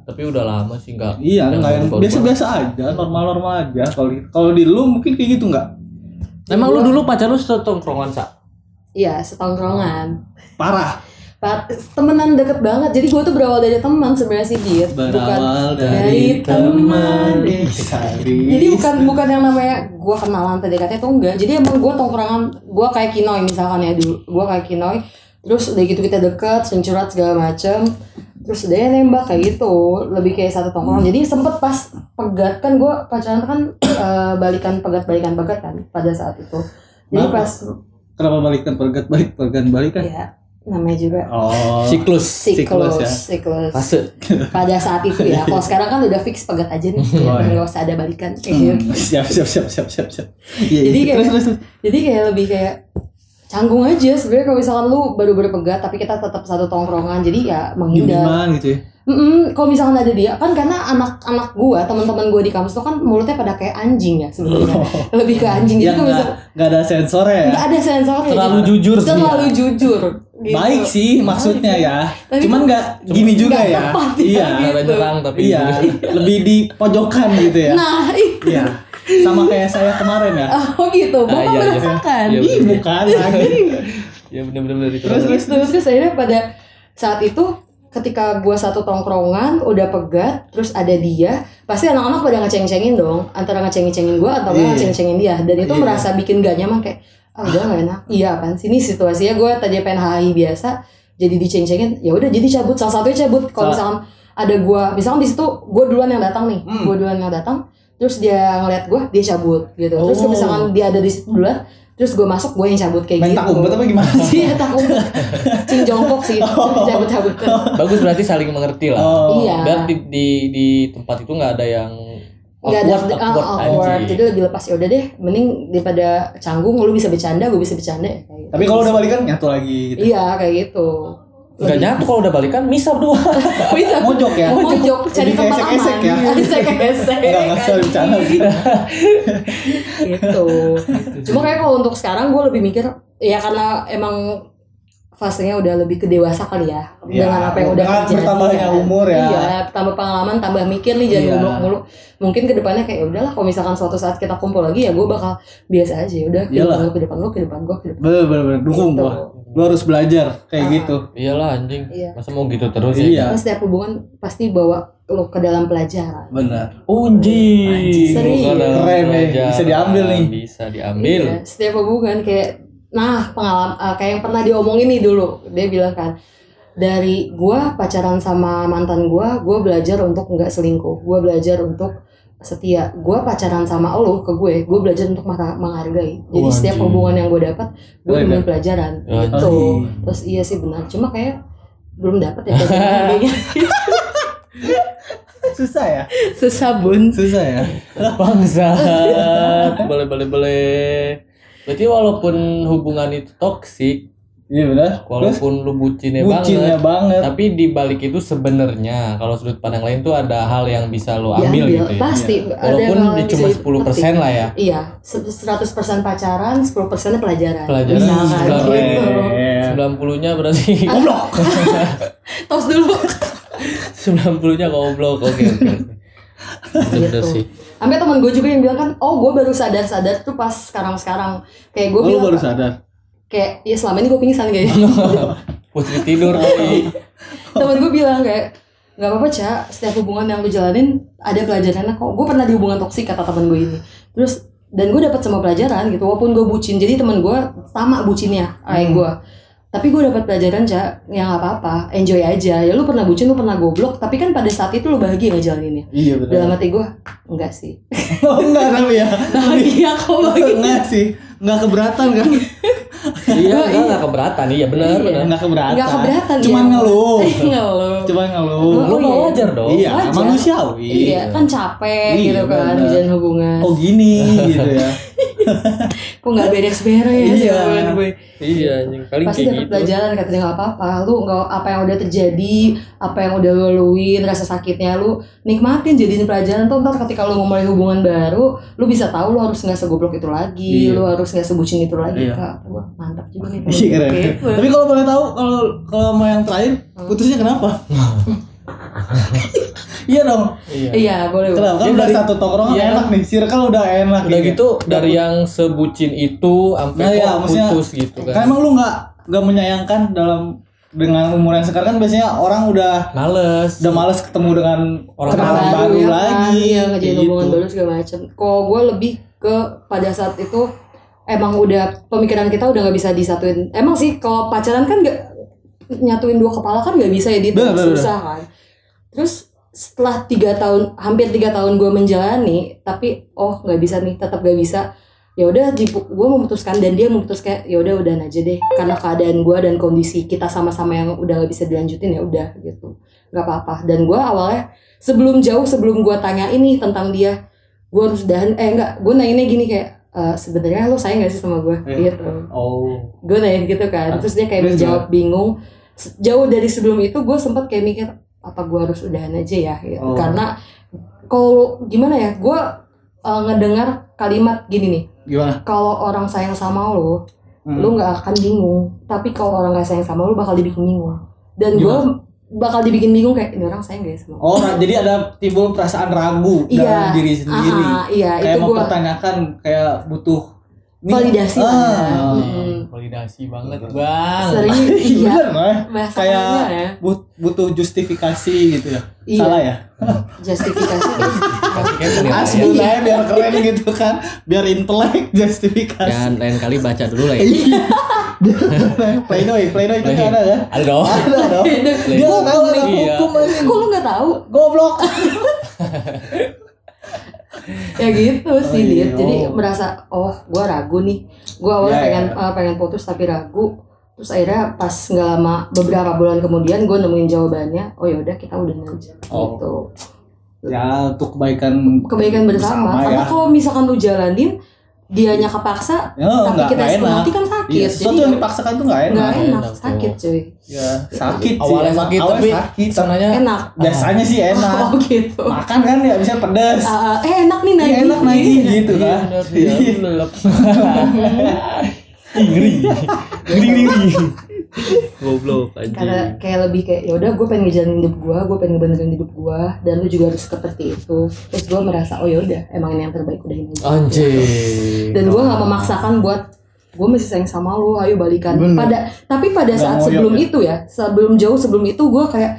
Tapi udah lama sih nggak.
Iya, enggak
nggak
yang
berubah.
biasa-biasa aja, normal-normal aja. Kalau kalau di lu mungkin kayak gitu enggak?
Emang lu dulu pacar lu setongkrongan sa?
Iya, setongkrongan.
Parah.
Pa- Temenan deket banget. Jadi gue tuh berawal dari teman sebenarnya sih Dit. Bukan.
Berawal
dari teman. Iya. Jadi
Jadi
bukan bukan yang namanya gue kenalan PDKT tuh enggak. Jadi emang gue tongkrongan, gue kayak Kinoy misalkan ya dulu. Gue kayak Kinoy. Terus udah gitu kita deket, sencurat segala macem. Terus udah ya nembak kayak gitu, lebih kayak satu tongkrongan. Jadi sempet pas pegat kan gue pacaran kan eh, balikan pegat balikan pegat kan pada saat itu. Jadi
Kenapa?
pas
Kenapa balikan pergat balik pergan balikan?
ya namanya juga
Oh.
Siklus.
siklus,
Siklus ya.
siklus.
Fase.
Pada saat itu ya. Kalau sekarang kan udah fix pegat aja nih,
Oh, iya.
nggak usah ada balikan. gitu.
Hmm, siap siap siap siap siap siap. Iya,
Iya. Jadi
iya.
kayak-
terus terus. terus.
Jadi kayak lebih kayak canggung aja sebenarnya kalau misalkan lu baru berpegat tapi kita tetap satu tongkrongan jadi ya menghindar.
Gimana gitu ya?
Mm-mm, kalau misalkan ada dia kan karena anak-anak gua teman-teman gua di kampus tuh kan mulutnya pada kayak anjing ya sebenarnya lebih ke anjing
Yang
jadi kalau
nggak
misalkan
nggak ada sensornya ya.
nggak ada sensornya
Iya, Terlalu
gitu.
jujur sih. ya.
terlalu jujur gitu.
Baik sih maksudnya ya.
Tapi
Cuman nggak gini juga
nggak
ya.
tepat ya,
Iya.
gitu.
Ada nyerang tapi
Iya, lebih di pojokan gitu ya.
nah itu
Iya. sama kayak saya kemarin ya
Oh gitu,
Ah,
bapak
iya, iya.
merasakan.
Iya,
Ih, bukan
gitu.
lagi
ya bener-bener itu
Terus terus terus Gitu. terus akhirnya pada saat itu ketika gua satu tongkrongan udah pegat terus ada dia pasti anak-anak pada ngeceng-cengin dong antara ngeceng-cengin gua atau
Iya.
gua ngeceng-cengin dia dan itu
Iya.
merasa bikin gak nyaman kayak ah udah gak enak iya apaan sih ini situasinya gua tadi PNHI biasa jadi diceng-cengin ya udah jadi cabut salah satunya cabut kalau misalkan ada gua misalkan di situ gua duluan yang datang nih
Hmm.
gua duluan yang datang terus dia ngeliat gua dia cabut gitu terus
Oh.
misalkan dia ada di situ duluan terus gua masuk gua yang cabut kayak
main
gitu
tak umpet apa gimana sih
Iya tahu. Cing jongkok sih, cabut-cabutan.
bagus berarti saling mengerti lah
oh
Iya.
dan di, di di tempat itu nggak ada yang
Nggak ada
awkward,
ah,
awkward,
awkward.
anjing.
Jadi lebih lepas ya udah deh, mending daripada canggung lu bisa bercanda, gue bisa bercanda ya. Kayak gitu.
tapi kalau udah balikan nyatu lagi gitu
Iya, kayak gitu.
nggak nyatu kalau udah balikan misah berdua
Bisa
mojok ya
Iya. mojok Oh, cari
Jadi
tempat aman.
esek-esek ya?
Esek-esek.
Enggak, enggak sorry bercanda bercanda.
gitu. Cuma kayak kalau untuk sekarang gue lebih mikir ya karena emang fasenya udah lebih kedewasa kali ya,
Iya,
dengan apa yang udah
dengan
terjadi
bertambahnya
kan.
umur ya.
Iya, tambah pengalaman, tambah mikir nih
Iya.
jangan muluk-muluk. Mungkin kedepannya kayak ya udahlah kalau misalkan suatu saat kita kumpul lagi ya gue bakal biasa aja ya udah
Iyalah.
kehidupan lu, kehidupan lu, kehidupan gue, kehidupan.
bener bener bener dukung
Gitu.
gua lu harus belajar kayak
Ah.
gitu
iyalah anjing
Iya.
masa mau gitu terus
Iya.
ya
Karena Kan setiap hubungan pasti bawa lu ke dalam pelajaran.
bener
Unji,
Serius.
Keren nih, bisa diambil nih.
Bisa diambil.
Iya, setiap hubungan kayak nah pengalaman eh, kayak yang pernah diomongin nih dulu dia bilang kan dari gua pacaran sama mantan gua gua belajar untuk nggak selingkuh gua belajar untuk setia gua pacaran sama lo ke gue gue belajar untuk mengha- menghargai jadi
Wajib.
setiap hubungan yang gue dapat
Wajib.
gue
ya?
ambil pelajaran
Wajib.
gitu terus iya sih benar cuma kayak belum dapat ya kayaknya.
susah ya
susah bun
susah ya
Bangsat. boleh boleh boleh. Berarti walaupun hubungan itu toksik,
iya bener terus
walaupun lu bucinnya, banget,
bucinnya banget
tapi di balik itu sebenarnya kalau sudut pandang lain tuh ada hal yang bisa lu ambil
diambil
gitu ya.
pasti ada
Walaupun
hal
di
yang
cuma
bisa
10% lah ya.
Iya, se- 100% pacaran, 10% pelajaran.
Pelajaran,
Misalkan
pelajaran.
gitu.
90-nya berarti
goblok
Tos dulu.
90-nya goblok. Oke, oke. oke. Bener
Gitu.
sih.
Sampai temen gue juga yang bilang kan, oh gue baru sadar-sadar tuh pas sekarang-sekarang. Kayak gue
Oh, lu
bilang,
baru sadar
kayak ya selama ini gue pingsan kayaknya.
Putri tidur
Oh,
kali.
temen gue bilang kayak, nggak apa-apa Ca, setiap hubungan yang lu jalanin ada pelajarannya kok. Gue pernah di hubungan toksik kata temen gue ini. Terus dan gue dapat semua pelajaran gitu walaupun gue bucin jadi temen gue sama bucinnya kayak gue tapi gue dapat pelajaran cak yang apa apa enjoy aja ya lu pernah bucin lu pernah goblok tapi kan pada saat itu lu bahagia ngejalaninnya
iya bener
dalam hati gue enggak sih
oh enggak tapi ya
bahagia Iya, kok
enggak sih enggak keberatan kan
Iya, enggak enggak keberatan. Iya, benar,
Iya.
benar.
enggak keberatan
enggak keberatan
cuman
ya.
ngeluh
ngeluh
cuman ngeluh
Lu mau
Oh, iya.
wajar dong.
iya
wajar.
manusiawi
iya kan capek
Iya,
gitu kan
bener.
menjalin hubungan
kok gini gitu ya
kok nggak beres-beres
Iya.
jawaban gue.
Iya, anjing. Paling
pasti
kayak
dapat
gitu.
pelajaran katanya nggak apa-apa lu nggak apa yang udah terjadi apa yang udah lu laluin rasa sakitnya lu nikmatin jadiin pelajaran tuh ntar ketika lu mulai hubungan baru lu bisa tahu lu harus nggak segoblok itu lagi
Iya.
lu harus nggak sebucin itu lagi
Iya.
kak Wah, mantap juga nih
Iya
gitu.
keren.
Oke.
Tapi kalau boleh tahu kalau kalau mau yang terakhir putusnya kenapa? iya dong.
Iya.
iya boleh boleh.
Kenapa? Kan
Iya,
udah
dari-
satu tongkrongan
iya.
enak nih, circle udah enak.
Udah
nih.
gitu dari yang sebucin itu sampai
Nah,
kok
iya, maksudnya-
putus gitu
Kan
kan.
emang lu nggak nggak menyayangkan dalam dengan umur yang sekarang kan biasanya orang udah
Males.
udah males ketemu dengan
Orang
kenalan
Orang
baru,
ya kan?
lagi.
iya ngejain
gitu.
hubungan baru segala macam kalau gue lebih ke pada saat itu emang udah pemikiran kita udah nggak bisa disatuin emang sih kalau pacaran kan nggak nyatuin dua kepala kan nggak bisa ya di
Bener, bener,
susah kan terus setelah tiga tahun hampir tiga tahun gue menjalani tapi oh nggak bisa nih tetap nggak bisa ya udah gue memutuskan dan dia memutuskan ya udah udahan aja deh karena keadaan gue dan kondisi kita sama-sama yang udah nggak bisa dilanjutin ya udah gitu nggak apa-apa dan gue awalnya sebelum jauh sebelum gue tanya ini tentang dia gue harus udahan eh enggak gue nanya gini kayak "Eh, sebenarnya lo sayang gak sih sama gue
Iya. Ah,
gitu
Oh.
gue nanya gitu kan terus dia kayak
Terus
menjawab bingung Se- jauh dari sebelum itu gue sempat kayak mikir apa gue harus udahan aja ya gitu.
Oh.
karena kalau gimana ya gue eh, ngedengar kalimat gini nih
Gimana?
kalau orang sayang sama lo
Hmm.
lu nggak akan bingung tapi kalau orang nggak sayang sama lu bakal dibikin bingung dan gue bakal dibikin bingung kayak ini orang sayang gak ya sama gua?"
Oh, nah, jadi ada timbul perasaan ragu dalam
Iya.
diri sendiri.
Aha, iya,
kayak
itu gua-
mempertanyakan, kayak butuh nih-
validasi
Ah,
lah. Mm-mm.
Validasi banget bang.
sering
iya.
iya
Bener, Noy.
bahasa
kayak
kerennya ya
but- butuh justifikasi gitu ya.
Iya.
Salah ya?
justifikasi
Pastikan penilaian.
Ah, sebut aja biar keren gitu kan. Biar intelek justifikasi.
Dan lain kali baca dulu
Iya.
lah ya.
Playdoy, Playdoy itu ada kan?
Ada dong.
Ada dong. Dia nggak tahu ada
Oh. Iya.
hukum ini.
ya. kok lu nggak tahu
Goblok.
ya gitu sih
Oh, iya.
Dit. jadi merasa oh gua ragu nih gua awalnya
Ya,
pengen
ya.
eh, pengen putus tapi ragu terus akhirnya pas nggak lama beberapa bulan kemudian gua nemuin jawabannya oh yaudah kita udah aja
Oh.
gitu
Ya untuk kebaikan
kebaikan bersama,
ya.
karena kalau misalkan lu jalanin dianya kepaksa
Ya,
tapi
nggak-
kita
nggak
semua
enak.
mati kan sakit
Iya, sesuatu yang
jadi
dipaksakan tuh nggak enak.
nggak enak
Enak,
sakit cuy
Ya, sakit sih.
Awalnya
emang.
sakit,
Awalnya
tapi
sakit.
sananya
enak
Biasanya sih Ya. enak.
oh gitu
Makan kan ya bisa pedes.
Ah, ah, eh enak nih
Iya,
nagih
enak lagi gitu kan.
Iya, lelep.
Hmm,
Ih, Ngeri. Ngeri ngeri. ngeri.
Goblok
karena
anjing.
kayak lebih kayak yaudah gue pengen ngejalanin hidup gue gue pengen ngebenerin hidup gue dan lu juga harus seperti itu terus gue merasa oh yaudah emang ini yang terbaik udah ini
Anjing.
dan gue nggak memaksakan buat gue masih sayang sama lu ayo balikan
Bener.
pada tapi pada
Nggak
saat
ngoyak
sebelum
ya?
itu ya sebelum jauh sebelum itu gue kayak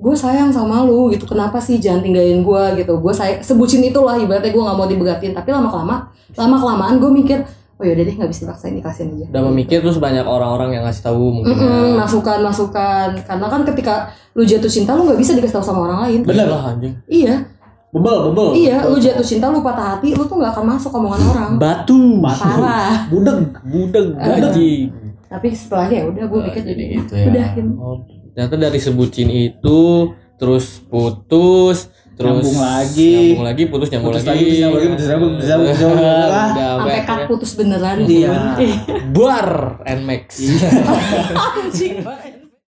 gue sayang sama lu gitu kenapa sih jangan tinggalin gue gitu gue say sebucin itulah ibaratnya gue nggak mau dibegatin tapi lama kelamaan lama kelamaan gue mikir oh yaudah deh nggak bisa dipaksain dikasihin aja
Udah memikir terus banyak orang-orang yang ngasih tahu mungkin.
Mm-mm,
ya.
masukan masukan karena kan ketika lu jatuh cinta lu nggak bisa dikasih tahu sama orang lain
Bener.
lah anjing.
iya
Bebel, bebel.
iya lu jatuh cinta lu patah hati lu tuh nggak akan masuk omongan orang
Batu.
parah
Budeg.
Budeg anjing.
tapi setelahnya ya udah gue pikir
jadi gitu ya.
udahin.
Oh, ternyata dari sebutin itu terus putus terus
Nyambung lagi.
nyambung lagi putus nyambung
Putus
lagi Ah.
lagi, putus nyambung lagi, putus nyambung, putus nyambung, putus nyambung,
Udah,
lah.
udah, sampai
sampai cut Iya.
akhirnya
putus beneran
Iya.
Eh,
bar and max
anjing banget